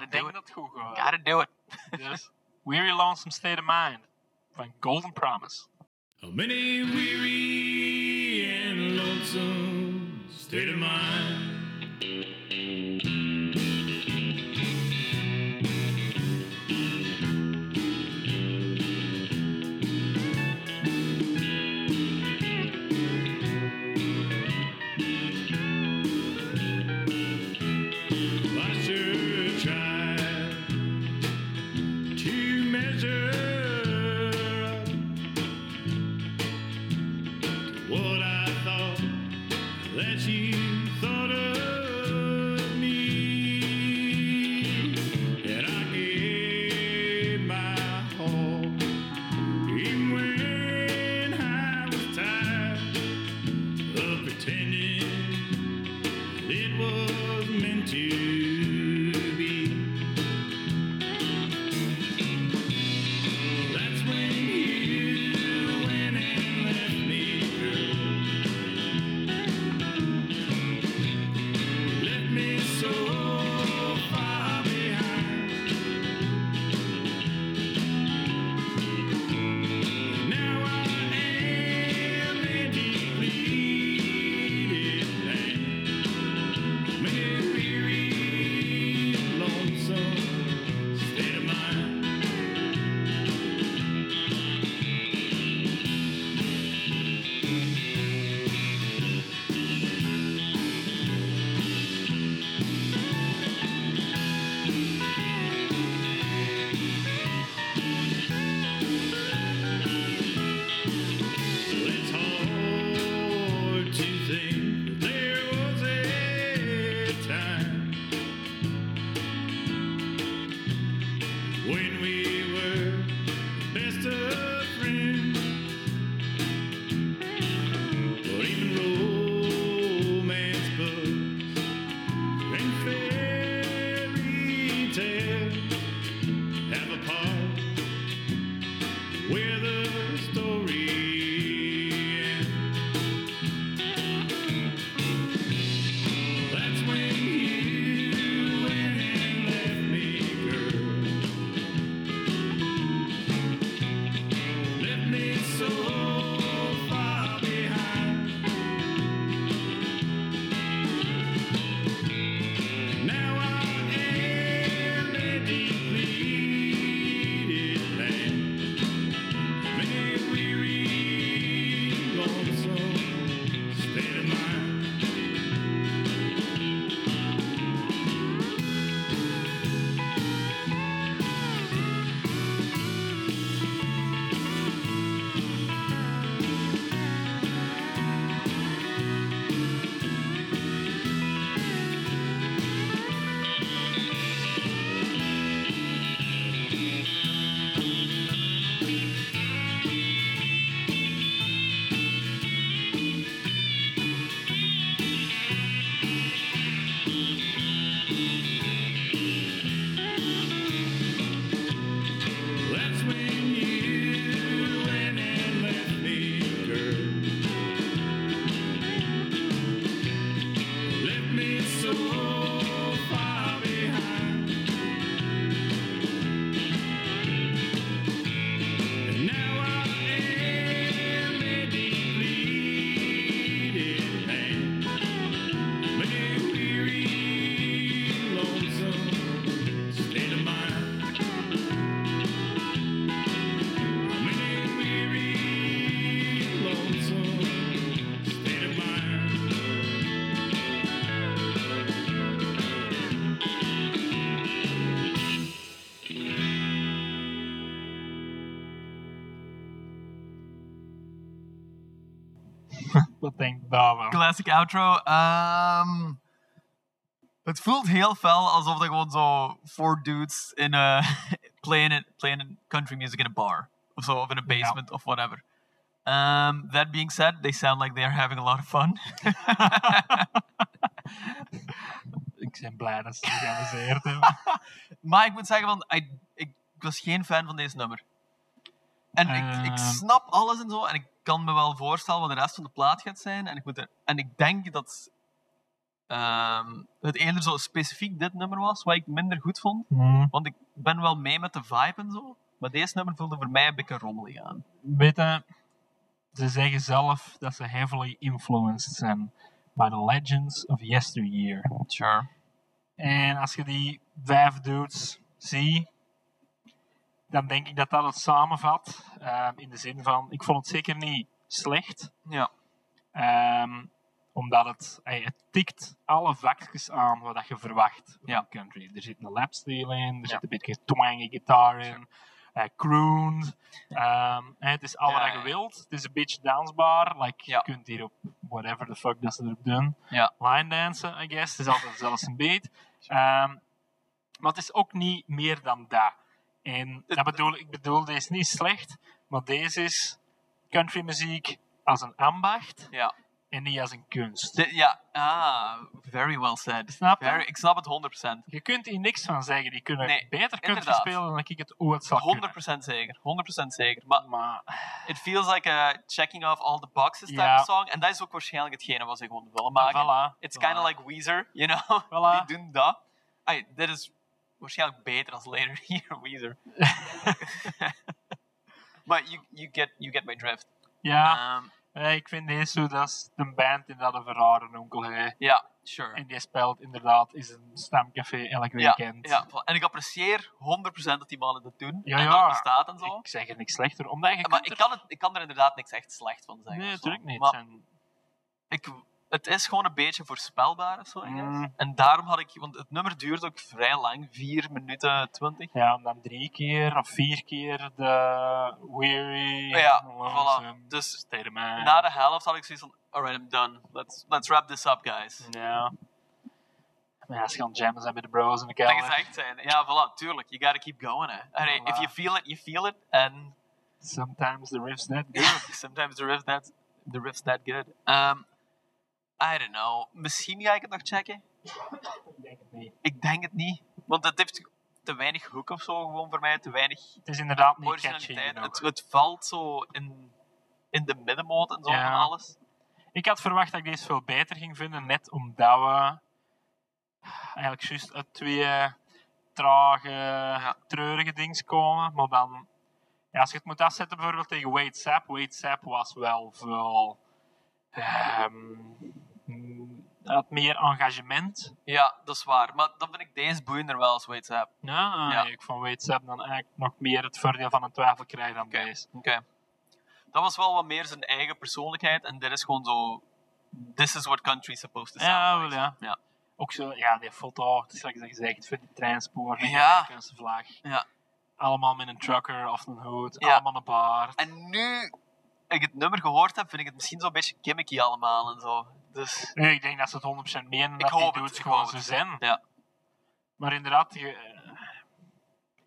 Speaker 2: dan denk
Speaker 3: do
Speaker 2: ik
Speaker 3: it.
Speaker 2: dat het goed gaat.
Speaker 3: Gotta do it.
Speaker 2: Dus, Weary Lonesome State of Mind van Golden Promise.
Speaker 7: How many weary and lonesome state of mind? Well, I sure tried to measure up what I thought that you thought of me.
Speaker 2: Wat denk ik daar wel?
Speaker 3: Classic outro. Ehm, het voelt heel fel alsof er gewoon zo four dudes in a, playing, it, playing country music in a bar. Of zo, of in a basement, of whatever. Ehm, that being said, they sound like they are having a lot of fun.
Speaker 2: Ik ben blij dat ze het geanalyseerd hebben.
Speaker 3: maar ik moet zeggen, van, I- ik was geen fan van deze nummer. En ik,
Speaker 2: Ehm.
Speaker 3: ik snap alles en zo, en ik kan me wel voorstellen wat de rest van de plaat gaat zijn. En ik, moet er, en ik denk dat ehm, het eerder zo specifiek dit nummer was, wat ik minder goed vond.
Speaker 2: Hmm.
Speaker 3: Want ik ben wel mee met de vibe en zo. Maar deze nummer voelde voor mij een beetje rommelig aan.
Speaker 2: Weet je, ze zeggen zelf dat ze heavily influenced zijn by the legends of yesteryear.
Speaker 3: Sure.
Speaker 2: En als je die vijf dudes ziet, dan denk ik dat dat het samenvat. Ehm, in de zin van, ik vond het zeker niet slecht.
Speaker 3: Ja.
Speaker 2: Ehm, omdat het, ey, het tikt alle vakjes aan wat dat je verwacht van
Speaker 3: Ja.
Speaker 2: country. Er zit een lapsteel in, er zit een beetje twangy gitaar in, eh crooned. Ehm, hè, het is al
Speaker 3: Ja,
Speaker 2: wat
Speaker 3: ja.
Speaker 2: je wilt. Het is een beetje dansbaar. Like,
Speaker 3: Ja.
Speaker 2: Je kunt hier op whatever the fuck dat ze erop doen.
Speaker 3: Ja.
Speaker 2: Line dansen, I guess. Het is altijd zelfs een beat. Ehm, maar het is ook niet meer dan dat. En dat bedoel, ik bedoel, deze is niet slecht, maar deze is countrymuziek als een ambacht
Speaker 3: Ja.
Speaker 2: en niet als een kunst.
Speaker 3: Dit- ja. Ah, very well said.
Speaker 2: Snap je?
Speaker 3: Very, ik snap het 100%.
Speaker 2: Je kunt hier niks van zeggen. Die kunnen
Speaker 3: Nee,
Speaker 2: beter country
Speaker 3: inderdaad.
Speaker 2: spelen dan ik het ooit zal kunnen.
Speaker 3: 100% zeker. 100% zeker. Maar
Speaker 2: Maar
Speaker 3: It feels like a checking off all the boxes type
Speaker 2: Ja.
Speaker 3: of song. En dat is ook waarschijnlijk hetgene wat ze gewoon willen maken.
Speaker 2: voilà.
Speaker 3: It's kind
Speaker 2: voilà.
Speaker 3: of like Weezer, you know?
Speaker 2: Voilà.
Speaker 3: Die doen dat. Ai, dit is waarschijnlijk beter als later hier Weezer. But you, you, get, you get my drift.
Speaker 2: Ja,
Speaker 3: Ehm,
Speaker 2: eh, ik vind deze zo, dat is de band in dat een verrare onkel heeft.
Speaker 3: ja, sure.
Speaker 2: En die speelt inderdaad is een stamcafé elk
Speaker 3: ja,
Speaker 2: weekend.
Speaker 3: ja, voilà. en ik apprecieer 100% dat die mannen dat doen.
Speaker 2: Ja,
Speaker 3: en
Speaker 2: ja.
Speaker 3: dat bestaat en zo.
Speaker 2: Ik zeg er niks slechter, omdat je
Speaker 3: maar
Speaker 2: kunt
Speaker 3: ik
Speaker 2: er-
Speaker 3: kan, het, ik kan er inderdaad niks echt slecht van zeggen.
Speaker 2: Nee,
Speaker 3: of zo.
Speaker 2: natuurlijk niet.
Speaker 3: Maar-
Speaker 2: Het zijn-
Speaker 3: ik, het is gewoon een beetje voorspelbaar of zo. I guess.
Speaker 2: Mm.
Speaker 3: En daarom had ik, want het nummer duurt ook vrij lang, 4 minuten 20.
Speaker 2: Ja, en dan drie keer of vier keer de weary.
Speaker 3: Ja,
Speaker 2: lonesome
Speaker 3: voilà. Dus
Speaker 2: Stairman.
Speaker 3: na de helft had ik zoiets van: alright, I'm done. Let's, let's wrap this up, guys.
Speaker 2: Ja. Maar ja, ze gaan jammen zijn met de bros in de
Speaker 3: Dat is
Speaker 2: kelder.
Speaker 3: echt zijn. Ja, voilà, tuurlijk. You gotta keep going, hè. Allee,
Speaker 2: Voilà.
Speaker 3: If you feel it, you feel it. And
Speaker 2: Sometimes the riff's net
Speaker 3: sometimes the riff's not, the riff's not good. Um, I don't know. Misschien ga ik het nog checken. Ik denk het niet. Want het heeft te weinig hoek of zo gewoon voor mij. Te weinig
Speaker 2: Het is inderdaad niet catchy
Speaker 3: originaliteit.
Speaker 2: genoeg.
Speaker 3: Het, het valt zo in, in de middenmoot en zo
Speaker 2: Ja.
Speaker 3: van alles.
Speaker 2: Ik had verwacht dat ik deze veel beter ging vinden, net omdat we eigenlijk juist uit twee trage, treurige dings komen. Maar dan, ja, als je het moet afzetten bijvoorbeeld tegen Wade Sap, Wade Sap was wel veel, ehm, mm, had meer engagement.
Speaker 3: Ja, dat is waar. Maar dan vind ik deze boeiender wel als WhatsApp.
Speaker 2: Ja,
Speaker 3: Ja.
Speaker 2: Ik vond Wade Sap dan eigenlijk nog meer het voordeel van een twijfel krijgen dan
Speaker 3: Oké.
Speaker 2: deze.
Speaker 3: Oké. Dat was wel wat meer zijn eigen persoonlijkheid. En dit is gewoon zo... This is what country's supposed to
Speaker 2: Ja,
Speaker 3: sound
Speaker 2: wel,
Speaker 3: like.
Speaker 2: ja.
Speaker 3: ja.
Speaker 2: Ook zo, ja, die foto, het is zoals je zegt, voor die treinspoor, die
Speaker 3: Ja.
Speaker 2: Amerikaanse vlag.
Speaker 3: Ja.
Speaker 2: Allemaal met een trucker of een hoed,
Speaker 3: Ja.
Speaker 2: allemaal een baard.
Speaker 3: En nu ik het nummer gehoord heb, vind ik het misschien zo'n beetje gimmicky allemaal en zo. Dus...
Speaker 2: Nee, ik denk dat ze het 100% menen
Speaker 3: Ik
Speaker 2: dat die
Speaker 3: hoop het,
Speaker 2: dudes
Speaker 3: ik
Speaker 2: gewoon
Speaker 3: hoop
Speaker 2: zo
Speaker 3: het.
Speaker 2: zijn.
Speaker 3: Ja.
Speaker 2: Maar inderdaad, je, eh,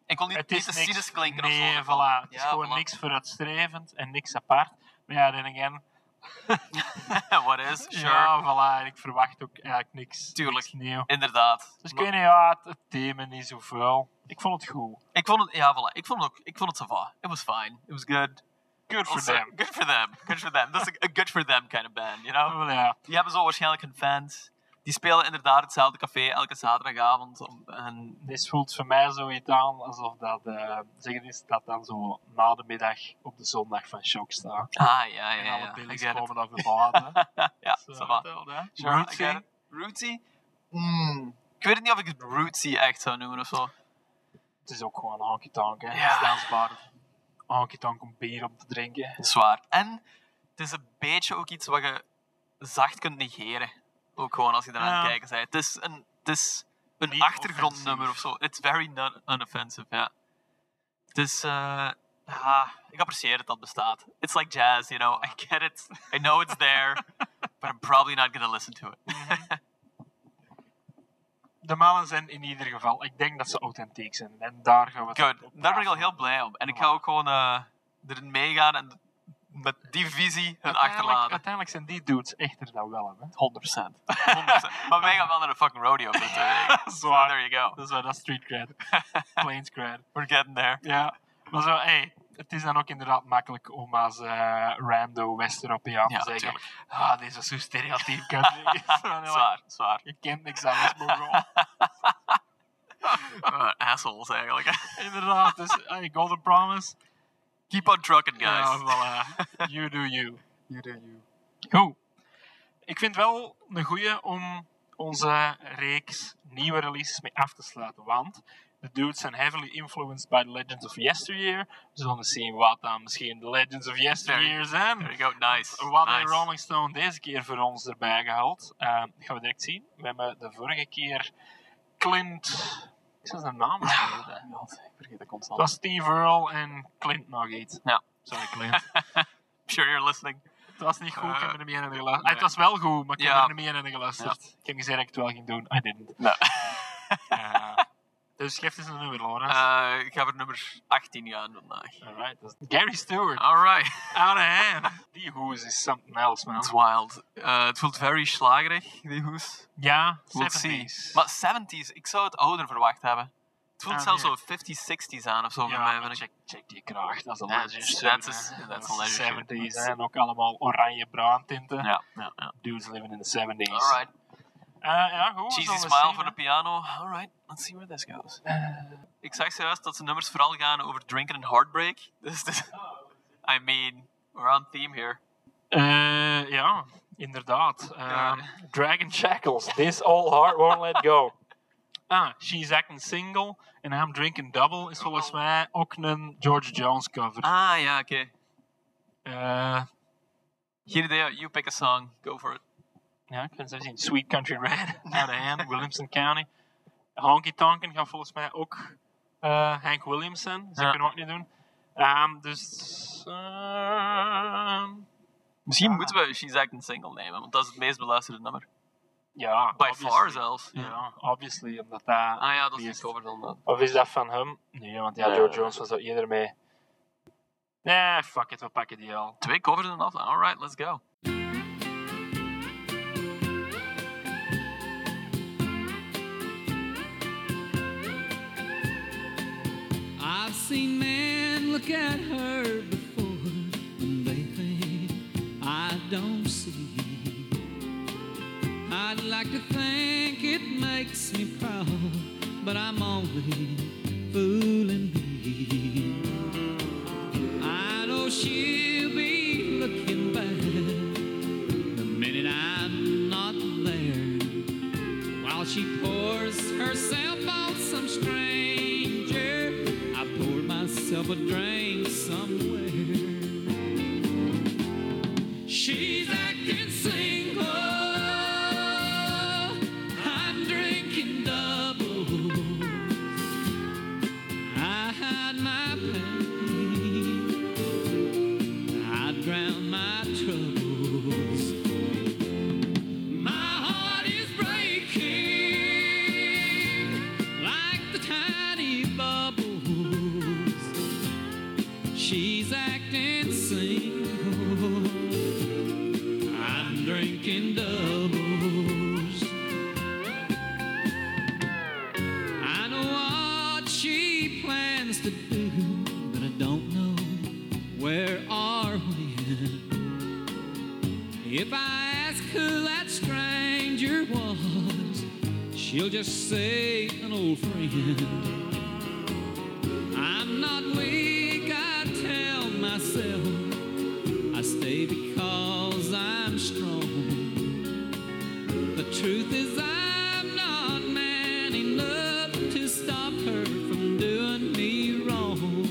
Speaker 3: Ik wil niet,
Speaker 2: het
Speaker 3: niet
Speaker 2: is
Speaker 3: te
Speaker 2: niks...
Speaker 3: cynisch klinken of zo.
Speaker 2: nee,
Speaker 3: ervan.
Speaker 2: voilà. Het is
Speaker 3: Ja,
Speaker 2: gewoon
Speaker 3: voilà.
Speaker 2: niks vooruitstrevend en niks apart. Maar ja, dan again,
Speaker 3: What is? Sure.
Speaker 2: ja, voilà, en ik verwacht ook eigenlijk niks,
Speaker 3: Tuurlijk.
Speaker 2: niks nieuw.
Speaker 3: Inderdaad.
Speaker 2: Dus ik
Speaker 3: Maar-
Speaker 2: weet niet, ja, het, het thema niet zoveel. Ik vond het goed.
Speaker 3: Ik vond het, ja, voilà. Ik vond het ook, ik vond het so far. It was fine. It was good.
Speaker 2: Good for
Speaker 3: Also,
Speaker 2: them.
Speaker 3: Good for them. Good for them. That's a, a good for them kind of band, you know?
Speaker 2: Wel ja.
Speaker 3: Die hebben zo waarschijnlijk hun fans. Die spelen inderdaad hetzelfde café elke zaterdagavond. om- en,
Speaker 2: Dit voelt voor mij zoiets aan alsof dat, eh zeggen is dat dan zo na de middag op de zondag van shock staat.
Speaker 3: ah, ja, ja,
Speaker 2: En
Speaker 3: ja.
Speaker 2: alle
Speaker 3: I
Speaker 2: billies
Speaker 3: get it.
Speaker 2: komen dan verbaten.
Speaker 3: ja,
Speaker 2: Zo,
Speaker 3: so far.
Speaker 2: dat wel, hè.
Speaker 3: Sure, I
Speaker 2: Rootsy.
Speaker 3: get it. Rootsy? Mm. Ik weet niet of ik het rootsy echt zou noemen of zo.
Speaker 2: Het is ook gewoon honky tonk, hè.
Speaker 3: Ja.
Speaker 2: Het is dansbaar. Honky tonk om bier op te drinken.
Speaker 3: Zwaar. En het is een beetje ook iets wat je zacht kunt negeren. Ook gewoon als je eraan aan
Speaker 2: Ja.
Speaker 3: het kijken bent. Het is een, het is een
Speaker 2: Niet
Speaker 3: achtergrondnummer
Speaker 2: offensief.
Speaker 3: of zo. It's very non unoffensive, ja. Het is, eh, ah, ik apprecieer het dat bestaat. It's like jazz, you know. I get it. I know it's there. but I'm probably not gonna listen to it.
Speaker 2: De malen zijn in ieder geval, ik denk dat ze authentiek zijn. En daar gaan we het
Speaker 3: Good.
Speaker 2: op
Speaker 3: Daar ben ik al
Speaker 2: afronden.
Speaker 3: heel blij om. En ik ga ook gewoon eh, erin meegaan en met die visie hun
Speaker 2: uiteindelijk,
Speaker 3: achterlaten. 100%.
Speaker 2: uiteindelijk zijn die dudes echter dan wel. Hè?
Speaker 3: 100%. maar wij gaan wel naar de fucking rodeo voor de twee weken. So
Speaker 2: waar.
Speaker 3: there you go.
Speaker 2: Dat is wel dat street cred. Plains cred.
Speaker 3: We're getting there.
Speaker 2: Ja. Maar zo, hey, het is dan ook inderdaad makkelijk om als eh, rando West-Europeaan
Speaker 3: Ja,
Speaker 2: te zeggen...
Speaker 3: natuurlijk.
Speaker 2: Ah, dit is zo stereotyp. country." Zo, en dan,
Speaker 3: Zwaar, zwaar.
Speaker 2: Je kent niks anders, Mongool.
Speaker 3: Eh, assholes eigenlijk.
Speaker 2: inderdaad. Dus, hey, Golden Promise.
Speaker 3: Keep on trucking,
Speaker 2: Ja,
Speaker 3: guys.
Speaker 2: voilà. You do you. You do you. Goed. Ik vind wel een goeie om onze reeks nieuwe releases mee af te sluiten. Want de dudes zijn heavily influenced by the Legends of Yesteryear. We zullen zien wat dan misschien de Legends of Yesteryear
Speaker 3: There you
Speaker 2: zijn.
Speaker 3: go. Nice.
Speaker 2: Wat
Speaker 3: nice.
Speaker 2: heeft Rolling Stone deze keer voor ons erbij gehaald? Eh, gaan we direct zien. We hebben de vorige keer Clint... Ik zal zijn naam niet weten.
Speaker 3: Ik vergeet dat constant.
Speaker 2: Dat was Steve Earle en Clint nog iets.
Speaker 3: Ja.
Speaker 2: Sorry, Clint.
Speaker 3: I'm sure you're listening.
Speaker 2: Het was niet goed, ik heb er
Speaker 3: Eh,
Speaker 2: niet meer aan geluisterd.
Speaker 3: nee.
Speaker 2: Ah, het was wel goed, maar ik
Speaker 3: Ja.
Speaker 2: heb er niet meer aan geluisterd. Ik heb gezegd dat ik het wel ging doen. I didn't.
Speaker 3: Nou.
Speaker 2: Ja. dus geef eens een nummer, Laurens.
Speaker 3: Eh, ik ga voor nummer 18 gaan vandaag.
Speaker 2: Alright, dat is Gary
Speaker 3: Ah.
Speaker 2: Stewart.
Speaker 3: Alright.
Speaker 2: Out of hand. Die hoes is something else, man.
Speaker 3: It's wild. Eh, het voelt very slagerig, die hoes.
Speaker 2: Ja,
Speaker 3: We'll
Speaker 2: 70s.
Speaker 3: see. Maar 70s, ik zou het ouder verwacht hebben. Het voelt
Speaker 2: Ah,
Speaker 3: zelfs
Speaker 2: nee.
Speaker 3: zo 50s, 60s aan of zo
Speaker 2: Ja,
Speaker 3: voor mij.
Speaker 2: maar
Speaker 3: vind ik.
Speaker 2: check, check die kraag, dat is een
Speaker 3: Ja,
Speaker 2: legend.
Speaker 3: dat is-
Speaker 2: hè.
Speaker 3: dat is een legend.
Speaker 2: 70s en ook allemaal oranje-bruin tinten.
Speaker 3: Ja, ja, ja.
Speaker 2: Dudes living in the 70s.
Speaker 3: Alright.
Speaker 2: Eh, ja, goed. we
Speaker 3: Cheesy
Speaker 2: zullen
Speaker 3: smile
Speaker 2: zien,
Speaker 3: voor
Speaker 2: hè.
Speaker 3: de piano. Alright, let's see where this goes. ik zag zojuist dat ze nummers vooral gaan over drinken en heartbreak. Dus, dus- I mean, we're on theme here.
Speaker 2: Eh, ja, inderdaad. Eh,
Speaker 3: Ja.
Speaker 2: Dragon Shackles, This Old Heart Won't Let Go. Ah, She's Acting Single and I'm Drinking Double is volgens mij ook een George Jones cover.
Speaker 3: Ah ja, oké.
Speaker 2: Eh,
Speaker 3: Geen idee, you pick a song, go for it.
Speaker 2: ja, ik kan zo zien. Sweet Country Red, Out of Hand, Williamson County. Honky Tonkin gaat volgens mij ook eh, Hank Williams zijn. Dus
Speaker 3: Ja.
Speaker 2: dat kunnen we ook niet doen. Ehm, dus... ehm,
Speaker 3: Misschien
Speaker 2: Ah.
Speaker 3: moeten we She's Acting Single nemen, want dat is het meest beluisterde nummer.
Speaker 2: ja,
Speaker 3: By far
Speaker 2: obviously.
Speaker 3: zelfs.
Speaker 2: Ja, obviously, omdat dat...
Speaker 3: Ah ja, dat is
Speaker 2: die
Speaker 3: die cover dan. dat.
Speaker 2: Of is dat van hem? Nee, want ja, George Jones was er eerder mee. Nee, fuck it, we pakken die al.
Speaker 3: Twee covers en af. Alright, let's go.
Speaker 5: I've seen men look at her before and they think I don't see. I'd like to think it makes me proud, but I'm only fooling me. I know she'll be looking back the minute I'm not there while she pours herself on some stranger. I poured myself a drink somewhere. She's acting single. I'm drinking double. I hide my pain. I drown my troubles. My heart is breaking like the tiny bubbles. She's acting single. I'm drinking doubles. I know what she plans to do, but I don't know where or when. If I ask who that stranger was, she'll just say an old friend. I'm not weak, I tell myself. I stay because I'm strong. The truth is, I'm not man enough to stop her from doing me wrong.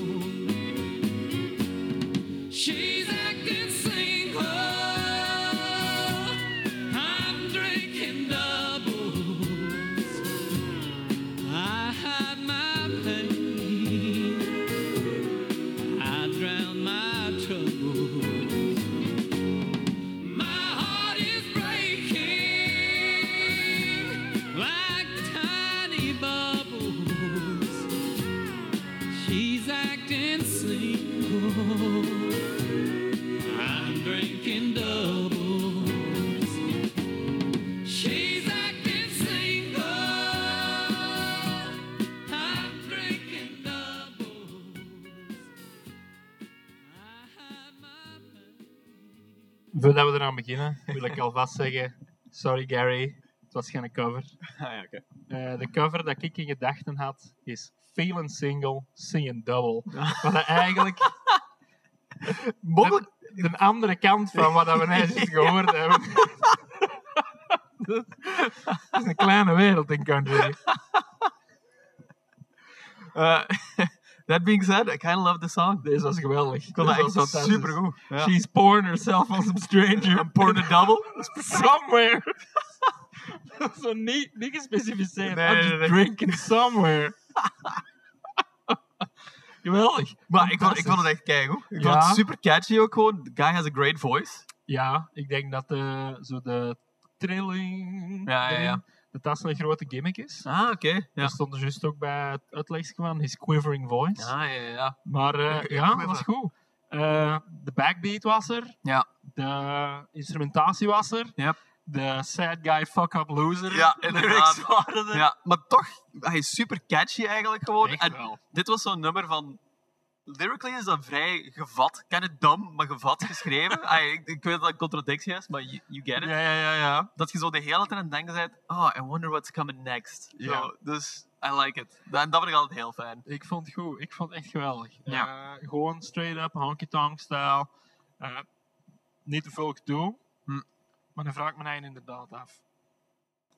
Speaker 5: She's acting single. I'm drinking doubles. I hide my
Speaker 4: act and sing. Oh, I'm drinking doubles. She's acting single. I'm drinking doubles. I had my
Speaker 2: Voordat we eraan beginnen, wil ik alvast zeggen: Sorry Gary, het was geen cover.
Speaker 8: Ah, ja, oké.
Speaker 2: Eh, de cover dat ik in gedachten had is Feeling Single, Singing Double. Wat dat eigenlijk de, de andere kant van wat dat we net eens gehoord hebben. Het is een kleine wereld in country.
Speaker 3: Uh, that being said, I kind of love the song.
Speaker 2: Deze was geweldig.
Speaker 3: Ik vond dat
Speaker 2: Deze was
Speaker 3: echt
Speaker 2: fantastisch.
Speaker 3: supergoed. Ja.
Speaker 2: She's pouring herself on some stranger.
Speaker 3: I'm pouring a double.
Speaker 2: somewhere. Dat is zo niet, niet gespecificeerd.
Speaker 3: Nee,
Speaker 2: I'm
Speaker 3: nee,
Speaker 2: just
Speaker 3: nee.
Speaker 2: drinking somewhere. Geweldig.
Speaker 3: Maar ik vond, ik vond het echt keigoed. Ik
Speaker 2: Ja.
Speaker 3: vond het super catchy ook gewoon. The guy has a great voice.
Speaker 2: Ja, ik denk dat de, zo de trilling,
Speaker 3: Ja, ja, ja.
Speaker 2: ding, dat dat zo'n grote gimmick is.
Speaker 3: Ah, oké. Ja.
Speaker 2: Dat stond er juist ook bij het uitleg van, his quivering voice.
Speaker 3: Ah, ja, ja.
Speaker 2: Maar eh,
Speaker 3: Ik- ik
Speaker 2: ja, dat
Speaker 3: quiver.
Speaker 2: was goed. Eh, de backbeat was er.
Speaker 3: Ja.
Speaker 2: De instrumentatie was er.
Speaker 3: Yep.
Speaker 2: De sad guy fuck up loser.
Speaker 3: Ja,
Speaker 2: lyrics
Speaker 3: inderdaad.
Speaker 2: waren er.
Speaker 3: Ja, maar toch, hij is super catchy eigenlijk gewoon.
Speaker 2: Echt
Speaker 3: en
Speaker 2: wel.
Speaker 3: dit was zo'n nummer van... Lyrically is dat vrij gevat. Ik ken het dom, maar gevat geschreven. Ah, ik, ik weet dat dat een contradictie is, maar you, you get it.
Speaker 2: ja, ja, ja.
Speaker 3: Dat je zo de hele tijd aan het denken bent, oh, I wonder what's coming next. Zo,
Speaker 2: Ja.
Speaker 3: dus, I like it. En dat vind ik altijd heel fijn.
Speaker 2: Ik vond het goed. Ik vond het echt geweldig.
Speaker 3: Ja.
Speaker 2: Eh, gewoon straight up, honky tonk stijl. Eh, niet te veel gedoe.
Speaker 3: Hm.
Speaker 2: Maar dan vraag ik me eigenlijk inderdaad af.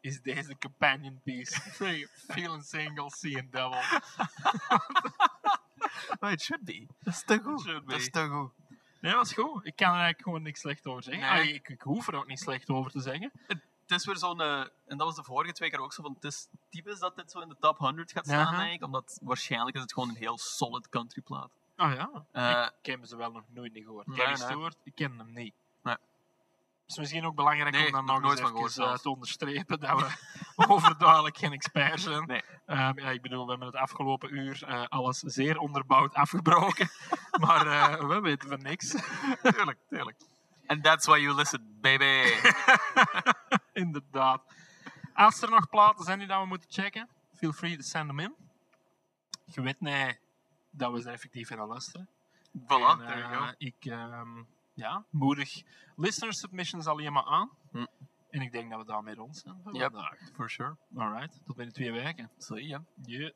Speaker 2: Is deze companion piece free, feeling single, seeing double?
Speaker 3: Maar it should be. Dat is te
Speaker 2: It
Speaker 3: goed.
Speaker 2: should
Speaker 3: Dat is
Speaker 2: be.
Speaker 3: te goed.
Speaker 2: Nee, dat is goed. Ik kan er eigenlijk gewoon niks slecht over zeggen.
Speaker 3: Nee.
Speaker 2: Ah, ik, ik hoef er ook niet slecht over te zeggen.
Speaker 3: het is weer zo'n. eh, en dat was de vorige twee keer ook zo. Van, het is typisch dat dit zo in de top 100 gaat staan,
Speaker 2: Aha.
Speaker 3: denk ik. Omdat waarschijnlijk is het gewoon een heel solid country plaat.
Speaker 2: Oh ja.
Speaker 3: Eh,
Speaker 2: ik ken ze wel nog nooit niet gehoord.
Speaker 3: Nee,
Speaker 2: Gary
Speaker 3: nee.
Speaker 2: Stewart, ik ken hem niet.
Speaker 3: Nee.
Speaker 2: Het is misschien ook belangrijk
Speaker 3: Nee,
Speaker 2: om dan
Speaker 3: nog
Speaker 2: nog
Speaker 3: nooit
Speaker 2: eens
Speaker 3: van
Speaker 2: even,
Speaker 3: gehoord
Speaker 2: eh,
Speaker 3: zelfs.
Speaker 2: te onderstrepen dat we overduidelijk geen expert zijn.
Speaker 3: Nee.
Speaker 2: Ehm, ja, ik bedoel, we hebben het afgelopen uur eh, alles zeer onderbouwd afgebroken. maar eh, we weten van niks. tuurlijk, tuurlijk.
Speaker 3: and that's why you listen, baby.
Speaker 2: Inderdaad. Als er nog platen zijn die dat we moeten checken, feel free to send them in. Je weet niet dat we ze effectief gaan luisteren.
Speaker 3: voilà,
Speaker 2: En,
Speaker 3: there you
Speaker 2: eh,
Speaker 3: go.
Speaker 2: Ik ehm, ja, moedig listener submissions alleen maar aan.
Speaker 3: Hm.
Speaker 2: En ik denk dat we daarmee rond zijn voor
Speaker 3: Yep.
Speaker 2: vandaag.
Speaker 3: For sure.
Speaker 2: Alright, tot binnen twee weken.
Speaker 3: So, yeah.
Speaker 2: Yeah.